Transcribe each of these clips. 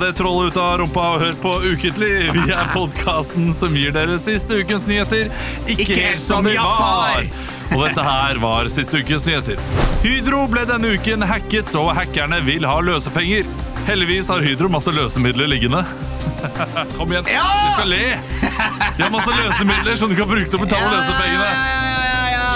det trollet ut av rumpa og hør på Ukentlig. Vi er podkasten som gir dere siste ukens nyheter. Ikke, helt som de var! Og dette her var siste ukens nyheter. Hydro ble denne uken hacket, og hackerne vil ha løsepenger. Heldigvis har Hydro masse løsemidler liggende. Kom igjen, du skal le! De har masse løsemidler som du kan bruke til å betale løsepengene.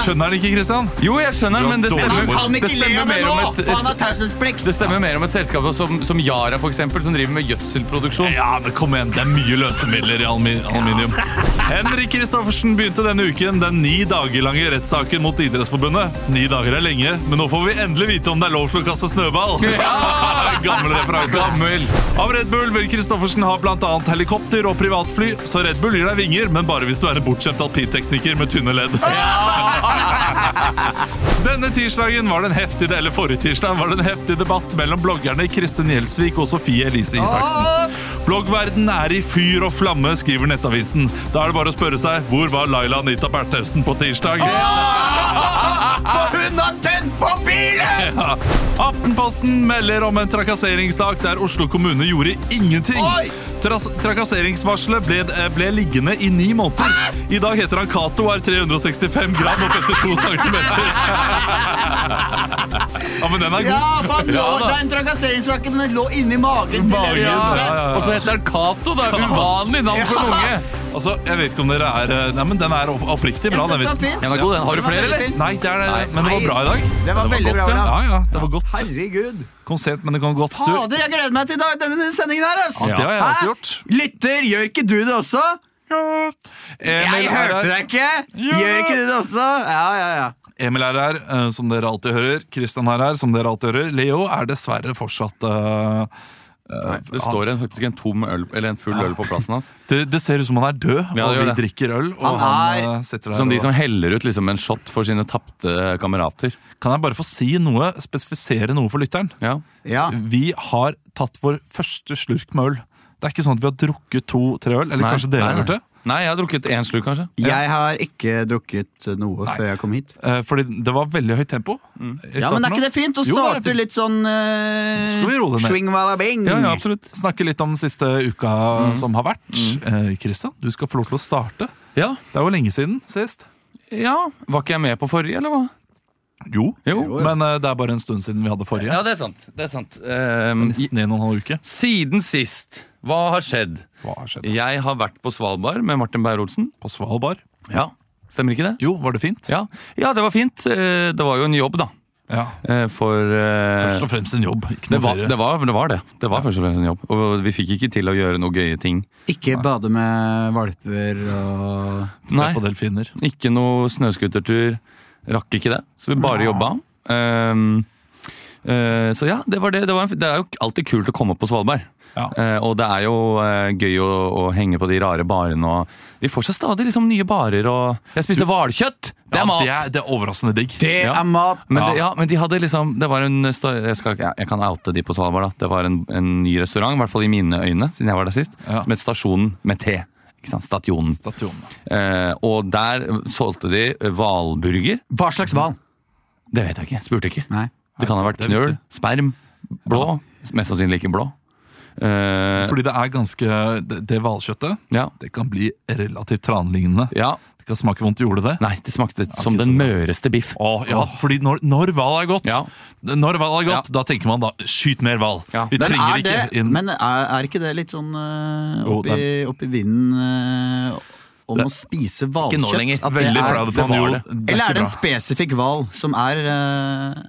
Skjønner han ikke, Kristian? Jo, jeg skjønner, Du har men det dårlig stemmer, humor. Han kan det ikke le stemmer av det mer nå, om et, for han har taushetsplikt. det stemmer mer om et selskap som, som Yara, for eksempel, som driver med gjødselproduksjon. Ja, men kom igjen, det er mye løsemidler i almi aluminium. altså. Henrik Kristoffersen begynte denne uken den ni dager lange rettssaken mot Idrettsforbundet. Ni dager er lenge, men nå får vi endelig vite om det er lov til å kaste snøball. Gammel referanse. Gammel. Av Red Bull vil Kristoffersen ha bl.a. helikopter og privatfly, så Red Bull gir deg vinger, men bare hvis du er en bortskjemt alpintekniker med tynne ledd. Denne tirsdagen var det en heftig, eller forrige tirsdag var det en heftig debatt mellom bloggerne Kristin Gjelsvik og Sofie Elise Isaksen. Bloggverden er i fyr og flamme, skriver Nettavisen. Da er det bare å spørre seg hvor var Laila Anita Bertheussen på tirsdag? For hun har tent på bilen! Ja. Aftenposten melder om en trakasseringssak der Oslo kommune gjorde ingenting. Oi! Tras trakasseringsvarselet ble, eh, ble liggende i ni måneder. I dag heter han Cato og er 365 gram og 52 centimeter. ja, men den er god. Ja, for han lå, Ja, da. det er en trakasseringssak, men den lå inni magen. til Magen, dere. ja, ja, ja. Og så heter han Cato, da. Uvanlig navn for en unge. Altså, jeg vet ikke om dere er eh, Nei, men Den er opp oppriktig bra, Jeg den synes den vitsen. var fin. Den er god, den. Har du flere, eller? Nei, det er det, Nei. men det var bra i dag. Det var veldig bra, godt, ja. Ola. Ja, ja, det var godt. Herregud. Kom sent, men det kom godt. Du, Fader, jeg gleder meg til dag, denne sendingen her, ass! Ja, det har jeg alltid gjort. Lytter, gjør ikke du det også? Emil Jeg hørte er Eh, her, deg ikke! Gjør ikke du det også? Ja, ja, ja. Emil er her, eh, som dere alltid hører. Christian er her, som dere alltid hører. Leo er dessverre fortsatt eh, Nei, det står en, faktisk en tom øl, eller en full øl på plassen hans. det, det ser ut som han er død, Ja, det og gjør vi det. drikker øl. Han Og han, er eh, sitter der Som de og- som heller ut liksom en shot for sine tapte kamerater. Kan jeg bare få si noe, spesifisere noe for lytteren? Ja. ja. Vi har tatt vår første slurk med øl. Det er ikke sånn at vi har drukket to-tre øl. Eller Nei, kanskje dere nei, har nei. gjort det? Nei, jeg har drukket én slurk, kanskje. Jeg har ikke drukket noe før jeg kom hit. Eh, Fordi det var veldig høyt tempo. Mm. Ja, Men er ikke det fint å Jo, det er starte fint. litt sånn Skal vi roe det uh, ned? swing-walla-bing? Ja, ja, absolutt. Mm. Snakke litt om den siste uka som har vært. Eh, Kristian, du skal få lov til å starte. Ja. Det er jo lenge siden sist. ja. Var ikke jeg med på forrige, eller hva? Jo, Jo, men eh, det er bare en stund siden vi hadde forrige. det er sant. Det er sant. Ehm, i- Nesten en og en halv uke. siden sist, hva har skjedd? Hva har skjedd? Jeg har vært på Svalbard med Martin Beyer-Olsen. På Svalbard? Ja. Stemmer ikke det? Jo, var det fint? Ja. ja, det var fint. Eh, Det var jo en jobb, da. Ja. Eh, For eh, Først og fremst en jobb. Ikke det noe var, ferie. det, var, det var det. Det var først og fremst en jobb. Og vi fikk ikke til å gjøre noe gøye ting. Ikke bade med valper og Se Nei. på delfiner. Ikke noe snøskutertur. Rakk ikke det. Så vi bare jobba. Ehm, eh, så ja, det var det. Det, var en, det er jo alltid kult å komme på Svalbard. Ja. Eh, og det er jo eh, gøy å, å henge på de rare barene. Og de får seg stadig liksom nye barer. Og jeg spiste hvalkjøtt! Det Ja, er mat! Det er, det er overraskende digg. Det Ja. er mat! Men, det, ja, men de hadde liksom Det var en sta- jeg, skal, ikke- jeg kan oute de på Svalbard. da Det var en, en ny restaurant, i hvert fall i mine øyne, siden jeg var der sist, Ja. som het Stasjonen med T. Ikke sant? Stationen. Statuen. Eh, og der solgte de hvalburger. Hva slags hval? Det vet jeg ikke. jeg Spurte ikke. Nei. Det kan ha vært Det er knøl, viktig. sperm, blå. Mest sannsynlig ikke blå. Eh, Fordi det er ganske Det det hvalkjøttet ja. det kan bli relativt tranlignende. ja. Det kan smake vondt i jordet, det. Nei, det smakte som ikke den så bra. møreste biff. Åh, ja, fordi når, når hval er godt, Ja. Når hval er godt Ja. da tenker man da skyt mer hval. Ja. Vi Men Men trenger er, ikke det, inn men er, er ikke det litt sånn eh, Jo, opp, i, opp i vinden eh, om å spise hvalkjøtt? nå lenger. At det Veldig er- proud det upon var you. det. Det Eller ikke er det en bra. spesifikk hval som er eh,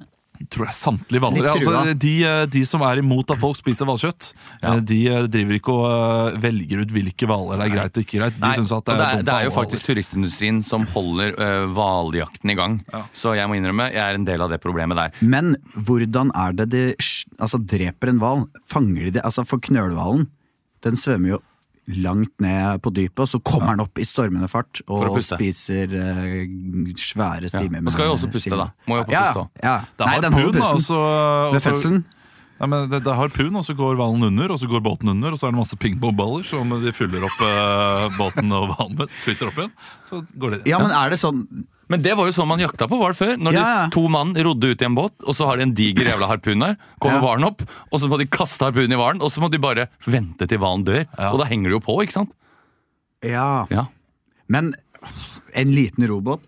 tror jeg samtlige hvaler. Litt trua. Altså, de, de som er imot at folk spiser hvalkjøtt, eh, Ja. de driver ikke og eh, velger ut hvilke hvaler det er greit og ikke greit. De Nei, synes at det og er, det, er, dumt det med er jo alle faktisk turistindustrien som holder eh, hvaljakten i gang. Ja. Så jeg må innrømme, jeg er en del av det problemet der. Men hvordan er det de sj- altså, dreper en hval? Fanger de det? Altså, for knølhvalen, den svømmer jo langt ned på dypet, og så kommer den opp i stormende fart For å og puste. spiser eh, svære Ja. stimer. Den skal jo også puste, da. Må jo opp og Ja, puste også. ja. Det har Nei, den holder pun, da, pusten. altså, Ved altså- fødselen. Nei, men det, det er harpun, og så går hvalen under, og så går båten under, og så er det masse pingpongballer som de fyller opp eh, båten og hvalen med, så flyter opp igjen. Så går det Ja, men er det sånn Men det var jo sånn man jakta på hval før. Når Ja, ja. de to mann rodde ut i en båt, og så har de en diger jævla harpun der. Kommer Ja. hvalen opp, og så må de kaste harpunen i hvalen, og så må de bare vente til hvalen dør. Og da henger de jo på, ikke sant? Ja. Ja. Men en liten robåt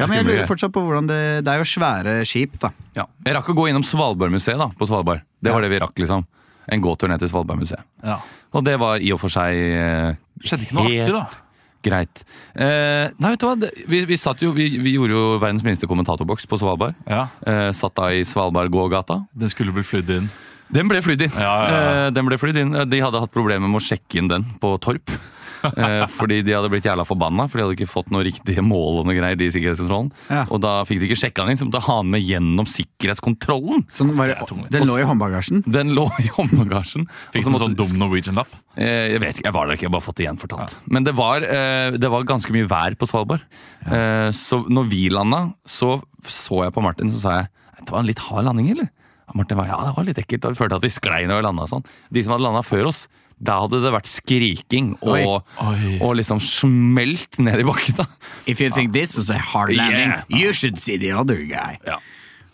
Ja, men jeg Skummel lurer greie. fortsatt på hvordan det Det er jo svære skip, da. Ja. Jeg rakk å gå innom Svalbardmuseet da, på Svalbard. Det var det vi rakk, liksom. En gåtur ned til Svalbardmuseet. Ja. Og det var i og for seg eh, Skjedde ikke noe helt artig, da? Greit. Eh, nei, vet du hva? Det, vi, vi, satt jo, vi, vi gjorde jo verdens minste kommentatorboks på Svalbard. Ja, Eh, satt da i Svalbardgågata. Den skulle bli flydd inn. Den ble flydd inn. Ja, ja, Eh, den ble flydd inn. Eh, De hadde hatt problemer med å sjekke inn den på Torp. Eh, fordi de hadde blitt jævla forbanna, for de hadde ikke fått noe riktige mål. Og noe greier, de i sikkerhetskontrollen. Ja. Og da fikk de ikke sjekka den inn, så måtte de ha den med gjennom sikkerhetskontrollen. Så den, var, tungt. den lå i håndbagasjen. Den lå i håndbagasjen. og Fikk så en måtte- sånn dum Norwegian-lapp. Eh, Jeg vet ikke, jeg var der ikke, jeg har bare fått det gjenfortalt. Men det var, eh, det var ganske mye vær på Svalbard. Eh, Så når vi landa, så så jeg på Martin, så sa jeg det var en litt hard landing, eller? Ja, Martin var, ja, det var litt ekkelt. og Vi følte at vi sklei når vi landa og sånn. De som hadde landa før oss, da hadde det vært skriking og, Oi. og liksom smelt ned i bakken. da. If you think this was a hard landing, you should see the other guy.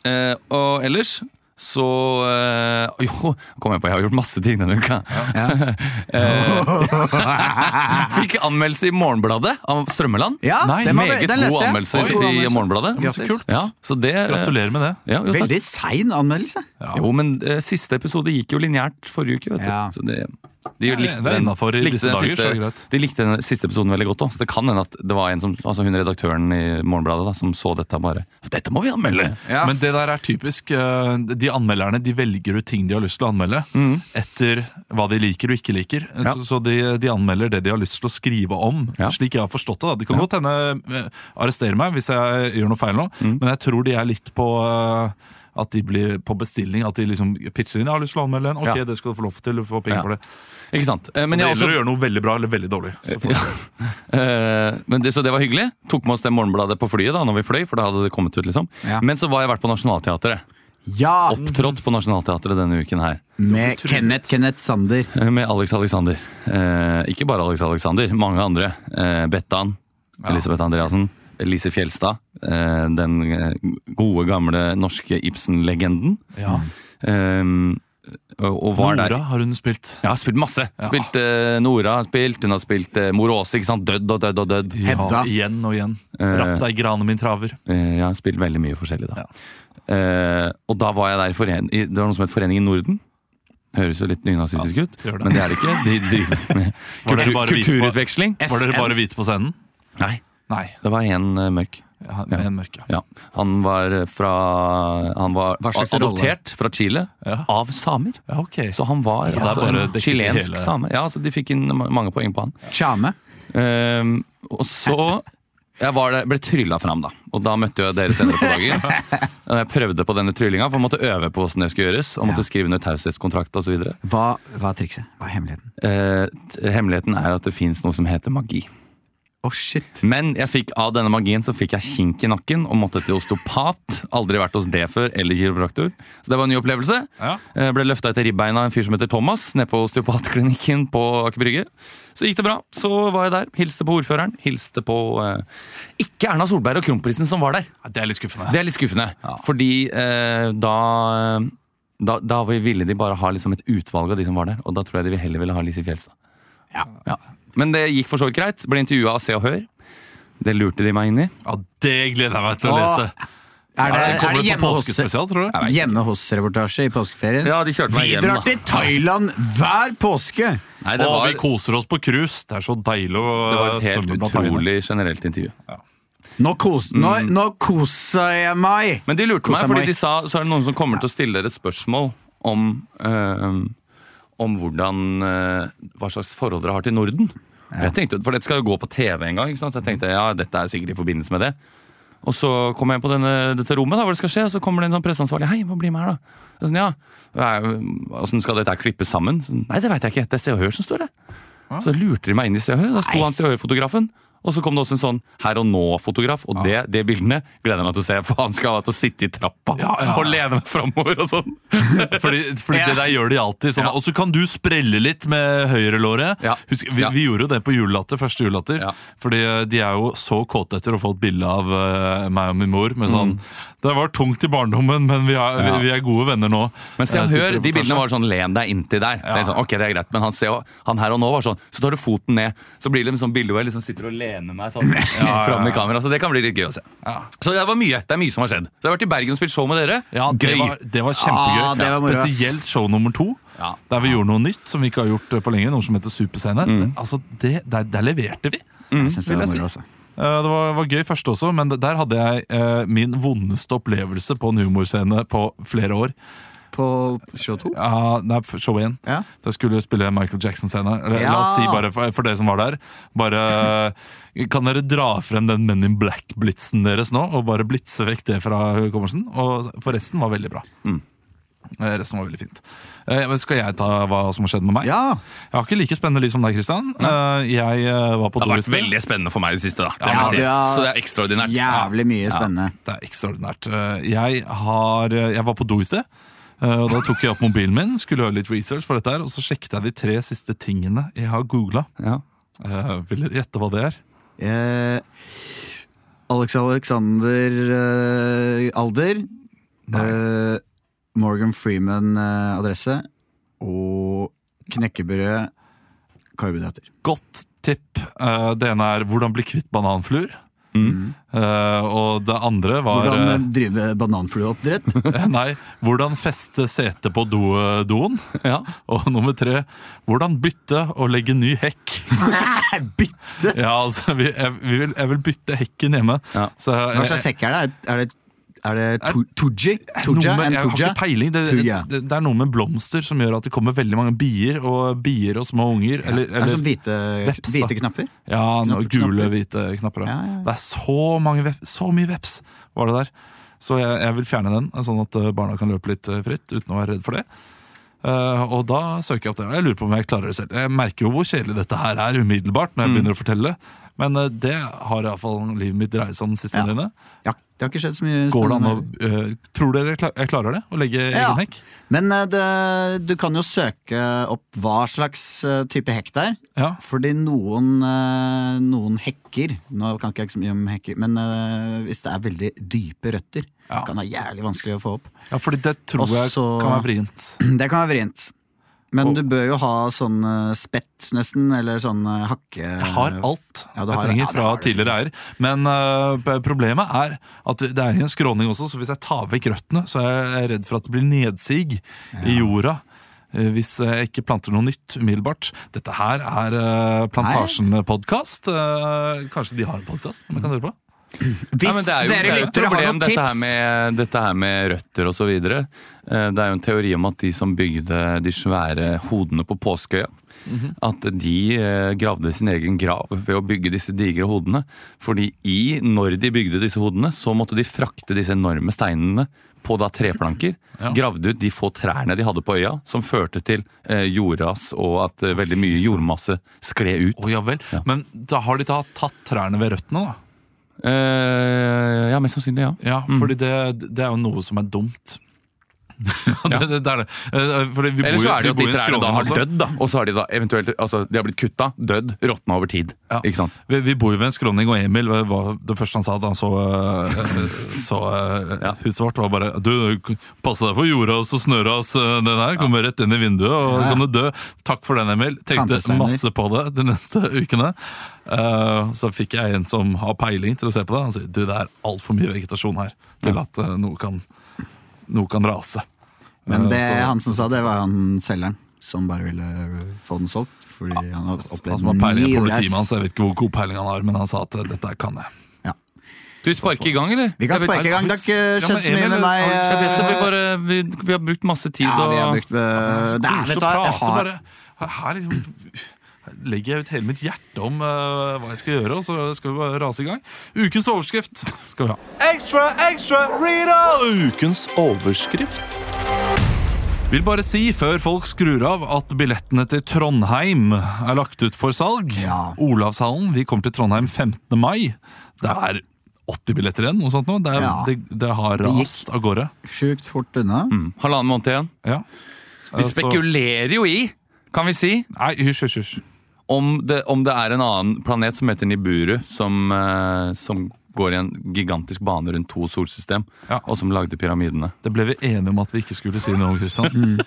Eh, og ellers så eh, Jo, kom jeg på, jeg har gjort masse ting denne uka. eh, fikk anmeldelse i Morgenbladet av Strømmeland. Ja, Nei, den, var, Meget den leste god jeg. anmeldelse Oi, i- god i anmeldelse. Morgenbladet. Ja, så kult. Ja, så det, eh, Gratulerer med det. Ja, jo, takk. Veldig sein anmeldelse. Jo, men eh, siste episode gikk jo lineært forrige uke, vet du. Ja. Så det, de det likte, er den, innenfor i likte disse den dager, så er det siste, greit. de likte den siste episoden veldig godt òg. Så det kan hende at det var en som, altså hun redaktøren i Morgenbladet da, som så dette og bare Dette må vi anmelde! Ja. Men det der er typisk. eh, De anmelderne de velger ut ting de har lyst til å anmelde, Mm. etter hva de liker og ikke liker. Så, så de, de anmelder det de har lyst til å skrive om. Ja. Slik jeg har forstått det. da. De kan godt hende eh, arrestere meg hvis jeg gjør noe feil nå, Mm. men jeg tror de er litt på eh, at de blir på bestilling. At de liksom pitcher inn. Jeg har lyst til å anmelde en. Ok, Ja. det skal du få lov til. Du får penger Ja. for det. Ikke sant? Eh, Så men det jeg har gjelder også å gjøre noe veldig bra eller veldig dårlig. Så får- Eh, men det, så det var hyggelig. Tok med oss det morgenbladet på flyet da når vi fløy. for da hadde det kommet ut liksom. Ja. Men så var jeg vært på Nationaltheatret. Ja, Opptrådt på Nationaltheatret denne uken her. med Kenneth Kenneth Sander. eh, Med Alex Alexander. Eh, ikke bare Alex Alexander, mange andre. Eh, Bettan. Elisabeth Andreassen. Lise Fjelstad. Eh, den eh, gode, gamle norske Ibsen-legenden. Ja. Eh, og, og var der Nora har hun spilt. Ja, har spilt masse. Spilt eh, Nora, har spilt, hun har spilt eh, Mor Aase. ikke sant? Dødd og dødd og dødd. Ja, Hedda. igjen og igjen. Rapp deg, grane min traver. Eh, Jeg har spilt veldig mye forskjellig da. Eh, og da var jeg der i foren i, Det var noe som het Foreningen Norden. Høres jo litt nynazistisk ut, gjør det. men det er det ikke. De driver med Var dere bare kultur, hvite på- kulturutveksling. Var dere bare hvite på scenen? Nei, Nei. det var én eh, mørk. Ja, med en mørke. Ja. Han var eh, fra Han var Hva slags rolle? adoptert fra Chile Ja. av samer. Ja, ok. Så han var det er altså, bare en dekket chilensk hele- same. Ja, så De fikk inn ma- mange poeng på han. Tjame. Ehm, og så jeg var der, ble trylla fram, da. Og da møtte jeg dere senere på dagen. Og jeg prøvde på denne tryllinga, for jeg måtte øve på hvordan det skulle gjøres. Og måtte skrive under taushetskontrakt osv. Hva, hva er trikset? Hva er hemmeligheten? Uh, hemmeligheten er at det fins noe som heter magi. Å, shit. Men jeg fikk av denne magien så fikk jeg kink i nakken og måtte til osteopat. Aldri vært hos det før, eller kiropraktor. Så det var en ny opplevelse. Ja. Eh, Ble løfta etter ribbeina av en fyr som heter Thomas, nede på osteopatklinikken på Aker Brygge. Så gikk det bra. Så var jeg der. Hilste på ordføreren. Hilste på eh, ikke Erna Solberg og kronprinsen som var der. Ja, Det er litt skuffende. Det er litt skuffende, fordi eh, da da, da ville de bare ha liksom et utvalg av de som var der, og da tror jeg de heller ville ha Lise Fjelstad. Ja. Ja. Men det gikk for så vidt greit. Ble intervjua av Se og Hør. Det lurte de meg inn i. Ja, det gleder jeg meg til å Åh, lese. Er det, Ja, er kommer det det på hjemme hos påskespesial, tror du? Hjemme hos-reportasje i påskeferien? Ja, de kjørte meg Vi hjem, drar da. til Thailand hver påske! Nei, Å, det var, vi koser oss på cruise. Det er så deilig å det var et helt svømme blant haiene. utrolig generelt intervju. Nå, kos, nå, Mm. nå koser jeg meg! Men de lurte meg, Kosa fordi meg. de sa så er det noen som kommer til å stille dere spørsmål om, eh, om hvordan, eh, hva slags forhold dere har til Norden. Og Jeg tenkte, for dette skal jo gå på TV en gang, ikke sant? så jeg tenkte ja, dette er sikkert i forbindelse med det. Og så kommer jeg inn på denne, dette rommet, da, hvor det skal skje, og så kommer det en sånn presseansvarlig. Hei, må bli med her, da. Jeg Sånn, ja, «Hva er- Hvordan skal dette her klippes sammen? Sånn, Nei, det veit jeg ikke. Det er Se og Hør som står det. Så lurte de meg inn i Se og Hør. Da sto han Se og Hør-fotografen Og så kom det også en sånn her og nå-fotograf, og det, det bildene gleder jeg meg til å se. For han skal ha til å sitte i trappa og lene meg framover og sånn. Fordi, fordi Ja. det der gjør de alltid. Sånn. Ja. Og så kan du sprelle litt med høyrelåret. Ja. Husk, vi, Ja. vi gjorde jo det på julelatter, første julelatter. Ja. Fordi eh, de er jo så kåte etter å få et bilde av eh, meg og min mor. Mm. Med sånn, Det var tungt i barndommen, men vi er, vi, vi er gode venner nå. Men se Eh, og type hør, de reportasje. bildene var sånn len deg inntil der. Det er sånn, ok, det er greit, Men han, ser, jo- han her og nå var sånn. Så tar du foten ned, så blir det liksom sånn bilde hvor jeg liksom sitter og lener meg sånn fram i kamera. Så det kan bli litt gøy å se. Så det var mye. Det er mye som har skjedd. Så jeg har vært i Bergen og spilt show med dere. ja, det gøy. Var, det var kjempegøy. Ah, det var moro, ass. Spesielt show nummer to, Ja. der vi gjorde noe nytt som vi ikke har gjort eh, på lenge. Noe som heter Superscene. Det- Altså, det, der, der leverte vi. Mm. Jeg synes det vil var jeg si. moro, altså. Eh, Det var, var gøy første også, men der hadde jeg eh, min vondeste opplevelse på en humorscene på flere år. På show to? Ja, nei, f- show 1. Ja. Da skulle jeg spille Michael Jackson-scene. Eller, La oss Ja. si bare for, for dere som var der Bare eh, Kan dere dra frem den Men in Black-blitsen deres nå, og bare blitse vekk det fra hukommelsen? Og For resten var veldig bra. Eh, Resten var veldig fint. Eh, Men skal jeg ta hva som har skjedd med meg? Ja! Jeg har ikke like spennende liv som deg, Kristian. Jeg eh, var på do Det har i vært sted. veldig spennende for meg i det siste. da Ja, det må jeg si. det er- Så det er ekstraordinært. Jævlig mye spennende. Det er ekstraordinært. Eh, Jeg, har, eh, jeg var på do i sted. eh, Og Da tok jeg opp mobilen min, skulle gjøre litt research, for dette her, og så sjekket jeg de tre siste tingene jeg har googla. Ja. Vil dere gjette hva det er? Eh, Alex Alexander eh, alder. Eh, Morgan Freeman eh, adresse. Og knekkebrød karbohydrater. Godt tipp. Eh, Det ene er 'Hvordan bli kvitt bananfluer'. Eh, og det andre var Mm. Hvordan eh, drive bananflueoppdrett? eh, Nei, 'Hvordan feste sete på do, eh, doen'. Og nummer tre 'Hvordan bytte og legge ny hekk'. Bytte! Ja, altså, vi, jeg, vi vil, jeg vil bytte hekken hjemme. Ja. Så eh, jeg- Hva slags sekk er det? Er det, er det to- Tooji? Tooja? Noe med- En jeg har Tooja? ikke peiling. Det, det, Tuja. det, det er noe med blomster som gjør at det kommer veldig mange bier, og bier og små unger. Eller, Det er som eller, hvite, veps, da. hvite knapper? ja, noe knapper, gule, knapper. hvite knapper. Ja, ja, ja. Det er så, mange vep, så mye veps var det der. Så jeg, jeg vil fjerne den, sånn at eh, barna kan løpe litt eh, fritt uten å være redd for det. Eh, og da søker jeg opp det. Og Jeg lurer på om jeg klarer det selv. Jeg merker jo hvor kjedelig dette her er umiddelbart når jeg Mm. begynner å fortelle. Men eh, det har iallfall livet mitt dreid seg om de siste Ja. døgnet. Ja, det har ikke skjedd så mye Går det an å spennende. eh, Tror dere jeg kla- jeg klarer det? Å legge Ja. egen hekk? Men eh, det, du kan jo søke opp hva slags eh, type hekk det er. Ja. Fordi noen, eh, noen hekker Nå kan ikke jeg så mye om hekker, men eh, hvis det er veldig dype røtter, Ja. kan det være jævlig vanskelig å få opp. Ja, fordi det tror jeg Også- kan være vrient. Det kan være vrient. Men Og- du bør jo ha sånn eh, spett, nesten, eller sånn eh, hakke... Jeg har alt Ja, du jeg har- trenger ja, det fra har du sikkert. tidligere eier. Men øh, p- problemet er at det er en skråning også, så hvis jeg tar vekk røttene, så er jeg redd for at det blir nedsig i jorda. øh, Hvis jeg ikke planter noe nytt umiddelbart. Dette her er øh, Plantasjen-podkast. Øh, Kanskje de har en podkast man kan høre på? Hvis Nei, men det er jo, det dere er jo et lyttere har problem, noen dette her tips! med, dette her med røtter og så videre. Eh, Det er jo en teori om at de som bygde de svære hodene på Påskeøya, Mhm. at de eh, gravde sin egen grav ved å bygge disse digre hodene. Fordi i, når de bygde disse hodene, så måtte de frakte disse enorme steinene på da treplanker, gravde ut de få trærne de hadde på øya, som førte til eh, jordras og at eh, veldig mye jordmasse skled ut. Å ja vel. Men da har de da tatt trærne ved røttene, da? Eh, ja, mest sannsynlig, ja. Mm. Ja, fordi det, det er jo noe som er dumt. det, det, det er det. Eh, Fordi vi Eller bor så jo- er det jo vi at de bor i en trærne da skråning har også. dødd, da. Og så har de da eventuelt altså, de har blitt kutta, dødd, råtna over tid. Ja. Ikke sant? Vi, vi bor jo ved en skråning, og Emil eh, var, det første han sa da han så, eh, så eh, huset vårt, var bare Du, passe deg for jorda og så snøra oss. eh, Den her kommer rett inn i vinduet, og Ja. kan du dø. Takk for den, Emil. Tenkte Kantesteiner. masse på det de neste ukene. Eh, så fikk jeg en som har peiling til å se på det. Han sier du, det er altfor mye vegetasjon her til at eh, noe, kan, noe kan rase. Men det Eh, så- han som sa det, var han selgeren som bare ville få den solgt. Fordi han hadde Han opplevd som har peiling i mye politiet, ræs. hans, jeg vet ikke hvor god peiling han har, men han sa at eh, dette kan jeg. Ja. Skal vi sparke i gang, eller? Vi kan Jeg vet- sparke i gang. Det har Ja, ikke men skjedd så mye Emil, med meg. Jeg vet det, vi, eh, bare, vi, vi har brukt masse tid Ja, vi har og brukt eh, Det er, Koselig vet du hva, å jeg prate, har bare. Her liksom her legger jeg ut hele mitt hjerte om eh, hva jeg skal gjøre, og så skal vi bare rase i gang. Ukens overskrift skal vi ha. Ekstra, ekstra, Rita! Ukens overskrift. Vil bare si før folk skrur av at billettene til Trondheim er lagt ut for salg. Ja. Olavshallen. Vi kommer til Trondheim 15. mai. Det er 80 billetter igjen. Noe sånt nå. Det, er, Ja. det, det har gikk. rast av gårde. Sjukt fort unna. Mm. Halvannen måned igjen. Ja. Vi Altså, spekulerer jo i, kan vi si, Nei, hysj, hysj, hysj. om det, om det er en annen planet som heter Niburu, som, eh, som går i en gigantisk bane rundt to solsystem, Ja. og som lagde pyramidene. Det ble vi enige om at vi ikke skulle si noe om, Kristian. Nei,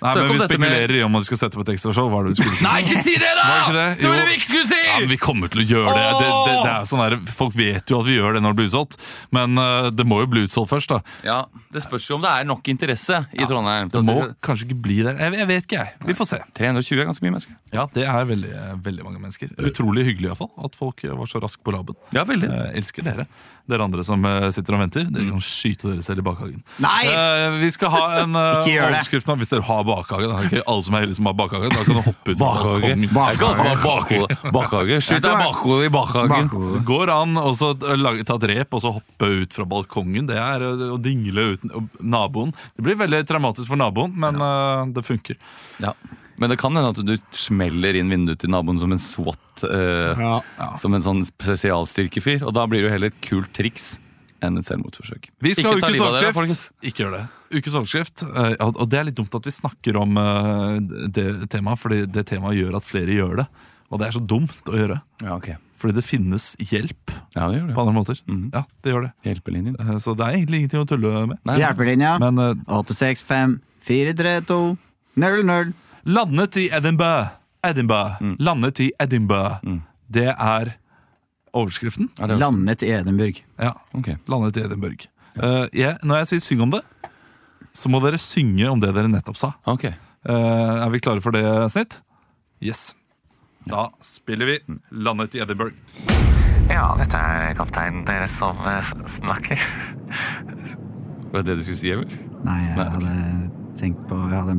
Mm. Søk men om vi dette med- spekulerer i om man skal sette på et ekstrashow. Hva er det vi skulle si? Nei, ikke si det, da! Var det ikke det? Det var Jo. det vi ikke skulle si! Ja, men vi kommer til å gjøre det. det, det, det er jo sånn der, folk vet jo at vi gjør det når det blir utsolgt, men eh, det må jo bli utsolgt først. da. Ja, Det spørs jo om det er nok interesse i Trondheim. Det må kanskje ikke bli der. Jeg, jeg vet ikke, jeg. Vi får se. 320 er ganske mye mennesker. Ja, Det er veldig, eh, veldig mange mennesker. Utrolig hyggelig i hvert fall, at folk eh, var så raske på labben. Ja, veldig. Mm. Eh, elsker dere. Dere andre som eh, sitter og venter. Dere kan skyte dere selv i bakhagen. Nei! Eh, vi skal ha en eh, Ikke gjør det. overskrift nå, hvis dere har bakhage. Da. Det er ikke alle som er heldige som har bakhage. Da kan du hoppe ut. Bakhage. Kom. Det er ikke alle som har bakhode. Bakhage. Skyt deg i bakhodet i bakhagen. Det går an å så t- lage- ta et rep og så hoppe ut fra balkongen. Det er eh, å dingle uten og naboen. Det blir veldig traumatisk for naboen, men eh, det funker. Ja. Men det kan hende at du smeller inn vinduet til naboen som en SWAT. eh, Som en sånn spesialstyrkefyr. Og da blir det jo heller et kult triks enn et selvmordsforsøk. Vi skal ha ta ukes livet av dere, overskrift. Ikke gjør det. Ukes overskrift. eh, og- Og det er litt dumt at vi snakker om eh, det temaet, fordi det temaet gjør at flere gjør det. Og det er så dumt å gjøre. folkens. Ja, ok. Fordi det finnes hjelp Ja, på det gjør det. andre måter. Ja, det gjør det. Hjelpelinjen. Eh, Så det er egentlig ingenting å tulle med. Nei, Hjelpelinja. Men eh, 865 432 00. Landet i Edinburgh. Edinburgh. Mm. Landet i Edinburgh. Det er overskriften. er Mm. det- Landet i Edinburgh. Ja. ok. Landet i Edinburgh. Eh, jeg, når jeg sier syng om det, så må dere synge om det dere nettopp sa. Ok. Eh, er vi klare for det, Snitt? Yes. Da spiller vi Landet i Edinburgh. Ja, dette er kapteinen deres som eh, s- snakker. Var det det du skulle si, Emil? Nei, jeg hadde tenkt på Jeg hadde,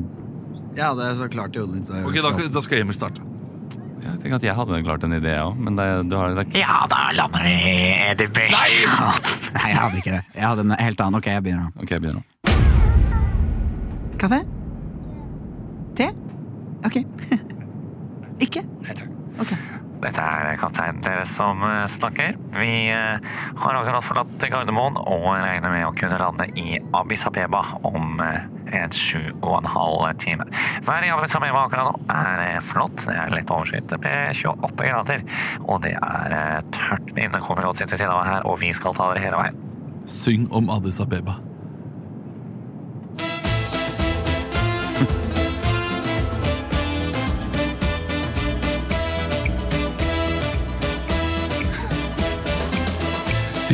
jeg hadde så klart i hodet mitt. hva jeg Ok, Da, skulle ha. da skal Emil starte. Jeg tenker at jeg hadde klart en idé, jeg òg. Men det, du har det der. Ja, da lander vi i Edinburgh. Nei, jeg hadde ikke det. Jeg hadde en helt annen. Ok, jeg begynner nå. Ok, jeg begynner nå. Kaffe? Te? Ok. Ikke? Ok. Dette er kapteinen deres som eh, snakker. Vi eh, har akkurat forlatt Gardermoen og regner med å kunne lande i Addis Abeba om eh, en sju og en halv time. Været i Addis Abeba akkurat nå er eh, flott. Det er litt overskyet. Det ble 28 grader. Og det er eh, tørt vind. Det kommer godt sitt ved siden av meg her, og vi skal ta dere hele veien. Syng om Addis Abeba.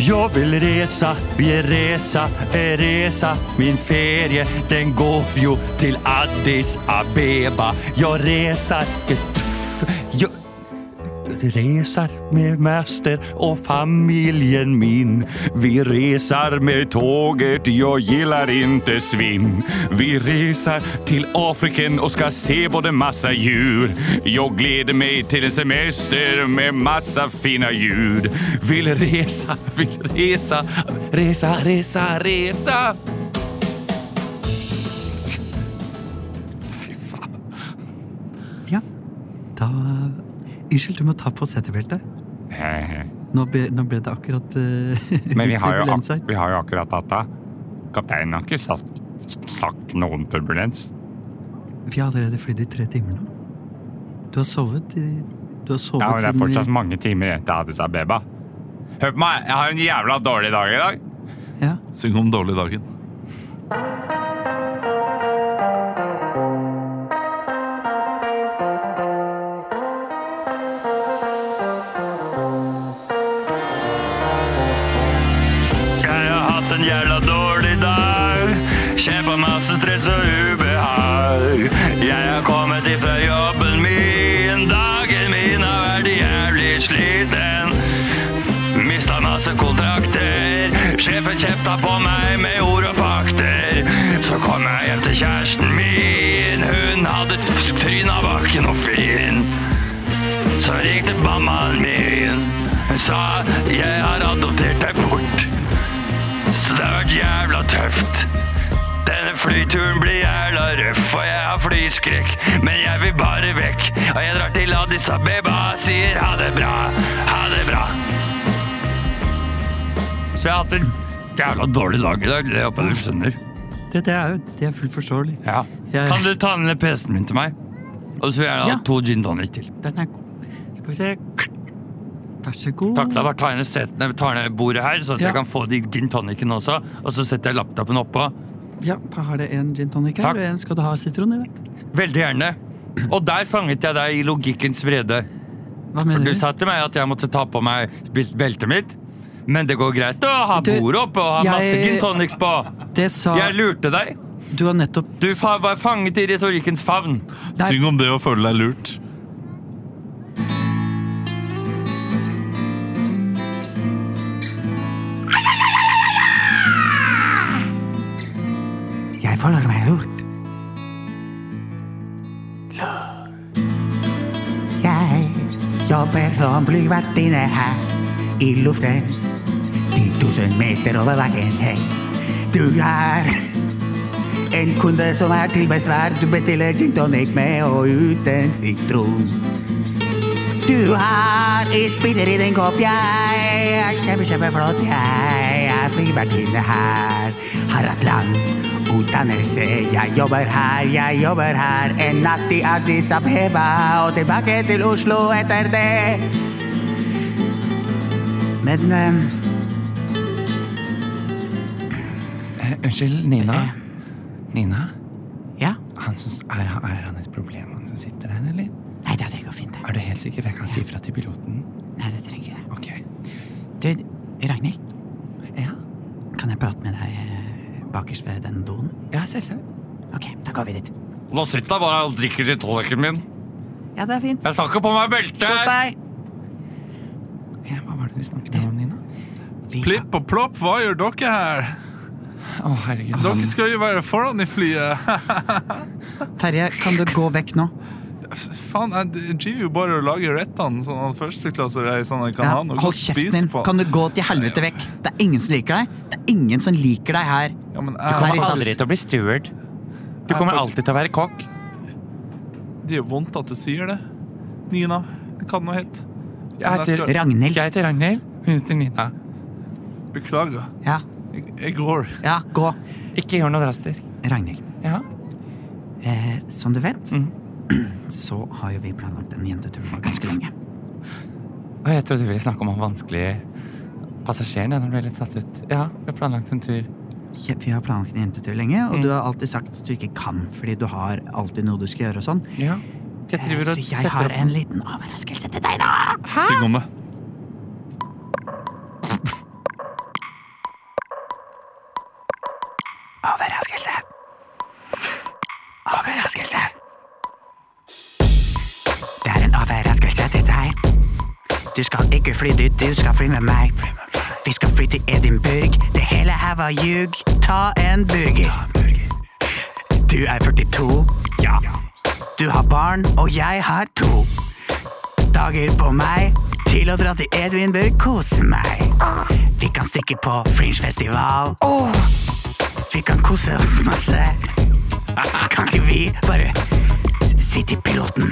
Jeg vil reise, vi reise, jeg reise. Min ferie, den går jo til Addis Abeba. Jeg reiser jeg tuff, jeg reiser med master og familien min. Vi reiser med toget, jeg gillar ikke svinn. Vi reiser til Afriken og skal se både masse djur. Jeg gleder meg til en semester med masse fine djur. Vil reise, vil reise, reise, reise, reise. Ja. Da Unnskyld, du må ta på setebeltet. Nå ble, nå ble det akkurat eh, Men vi har jo, turbulens her. ak vi har jo akkurat hatt det. Kapteinen har ikke sagt, sagt noen turbulens. Vi har allerede flydd i tre timer nå. Du har sovet i Du har sovet Ja, men det er siden eh, vi- fortsatt mange timer igjen til Addis Abeba. Hør på meg, jeg har en jævla dårlig dag i dag. Ja. Syng om dårlig dagen. Jeg har hatt en jævla dårlig dag. Kjempa masse stress og ubehag. Jeg har kommet ifra jobben min. Dagen min har vært jævlig sliten. Mista masse kontrakter. Sjefen kjefta på meg med ord og fakter. Så kom jeg hjem til kjæresten min. Hun hadde et tryn av bakken og fin. Så ringte mammaen min. Hun sa jeg har adoptert deg bort. Så det har vært jævla tøft. Denne Flyturen blir jævla røff, og jeg har flyskrekk. Men jeg vil bare vekk, og jeg drar til Addis Abeba. Sier ha det bra, ha det bra. Så jeg har hatt en jævla dårlig dag i dag. Det håper jeg du skjønner. Det, det er jo det er fullt forståelig. Ja. Jeg- Kan du ta ned PC-en min til meg? Og så vil jeg gjerne ha Ja. to gin tonic til. Den er god. Skal vi se Vær så god. Takk, da bare tar jeg ned, set- nei, tar jeg ned bordet her, så at Ja. jeg kan få de gin tonicene også. Og så setter jeg laptopen oppå. Ja, Har det en gin tonic her? Takk. Eller en- Skal du ha sitron i det? Veldig gjerne. Og der fanget jeg deg i logikkens vrede. Hva For mener du sa til meg at jeg måtte ta på meg bel- beltet mitt. Men det går greit å ha Du, bordet oppe og ha masse jeg- gin tonics på. Det sa Jeg lurte deg. Du har nettopp Du fa var fanget i retorikkens favn. Nei. Syng om det å føle deg lurt. Jeg føler meg lurt. Jeg jobber som flyvertinne her i luften. 10.000 meter over bakken, hei. Du er en kunde som er til besvær. Du bestiller gin tonic med og uten sitron. Du har isbiter i din kopp, jeg er kjempe, kjempeflott. Jeg er flyvertinne her. Har hatt lang utdannelse. Jeg jobber her, jeg jobber her. En natt i Addis Abeba og tilbake til Oslo etter det. Men eh, Eh, Unnskyld, Nina. Nina? Eh. Ja? Han syns- er, er han et problem, han som sitter der, eller? Nei da, det går fint. det. Er du helt sikker? For jeg kan si fra til piloten. Nei, det trenger jeg. Ok. Du, Ragnhild, Ja, kan jeg prate med deg eh, bakerst ved den doen? ja selvsagt. Ok, da går vi dit. Nå sitter jeg bare og drikker til tonicen min. Ja, det er fint. Jeg tar ikke på meg belte. Kos deg. Ja, hva var det du snakket om, Nina? Vi- Plipp og plopp, hva gjør dere her? Å, herregud. Dere skal jo være foran i flyet. Terje, kan du gå vekk nå? Faen, jeg driver jo bare og lager rettene sånn at førsteklassereisene kan Ja, ha noe hold godt å kjeften spise din. på. Kan du gå til helvete vekk? Det er ingen som liker deg. Det er ingen som liker deg her. Ja, men eh, Du kommer jeg, aldri til å bli steward. Du kommer alltid til å være kokk. det gjør vondt at du sier det. Nina, det kan noe hett. Jeg Men jeg heter, Ragnhild. jeg heter Ragnhild. Hun heter Nina. skal- Beklager. Ja, Jeg, jeg går. ja, gå. Ikke gjør noe drastisk. Ragnhild, Ja. eh, som du vet, Mhm. så har jo vi planlagt den jenteturen vår ganske lenge. Og jeg trodde du ville snakke om han vanskelige passasjeren. Ja, når du ble litt satt ut. Ja, vi har planlagt en tur. Ja, Vi har planlagt en jentetur lenge, og Mm. du har alltid sagt at du ikke kan fordi du har alltid noe du skal gjøre og sånn. Ja. Jeg Eh, driver Så og jeg setter har opp en liten overraskelse til deg, da! Syng om det. Overraskelse. Overraskelse. Det er en overraskelse til deg. Du skal ikke fly dit, du skal fly med meg. Vi skal fly til Edinburgh. Det hele her var ljug. Ta en burger. Du er 42. Ja. Du har barn, og jeg har to. Dager på meg til å dra til Edinburgh, kose meg. Vi kan stikke på Fringe Festival. Vi kan kose oss masse. Kan ikke vi bare si til piloten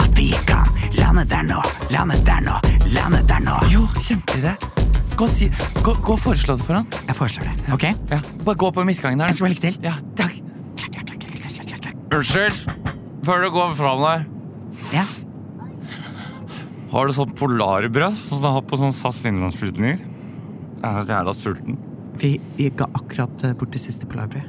at vi kan lande der nå, lande der nå, lande der nå? Jo, kjempeidé. Gå, og si, gå, gå og foreslå det for han. Jeg foreslår det. Ok? Ja. Bare gå på midtgangen der. Jeg skal være lykke til. Ja, takk. Klakk, klakk, klakk, klakk, klakk, klakk, klakk. Unnskyld. Før du går fram der. Ja. Har du sånn polarbrød som du har på sånn SAS innlandsflytninger? Jeg er så jævla sulten. Vi gikk akkurat eh, bort til siste polarbrød.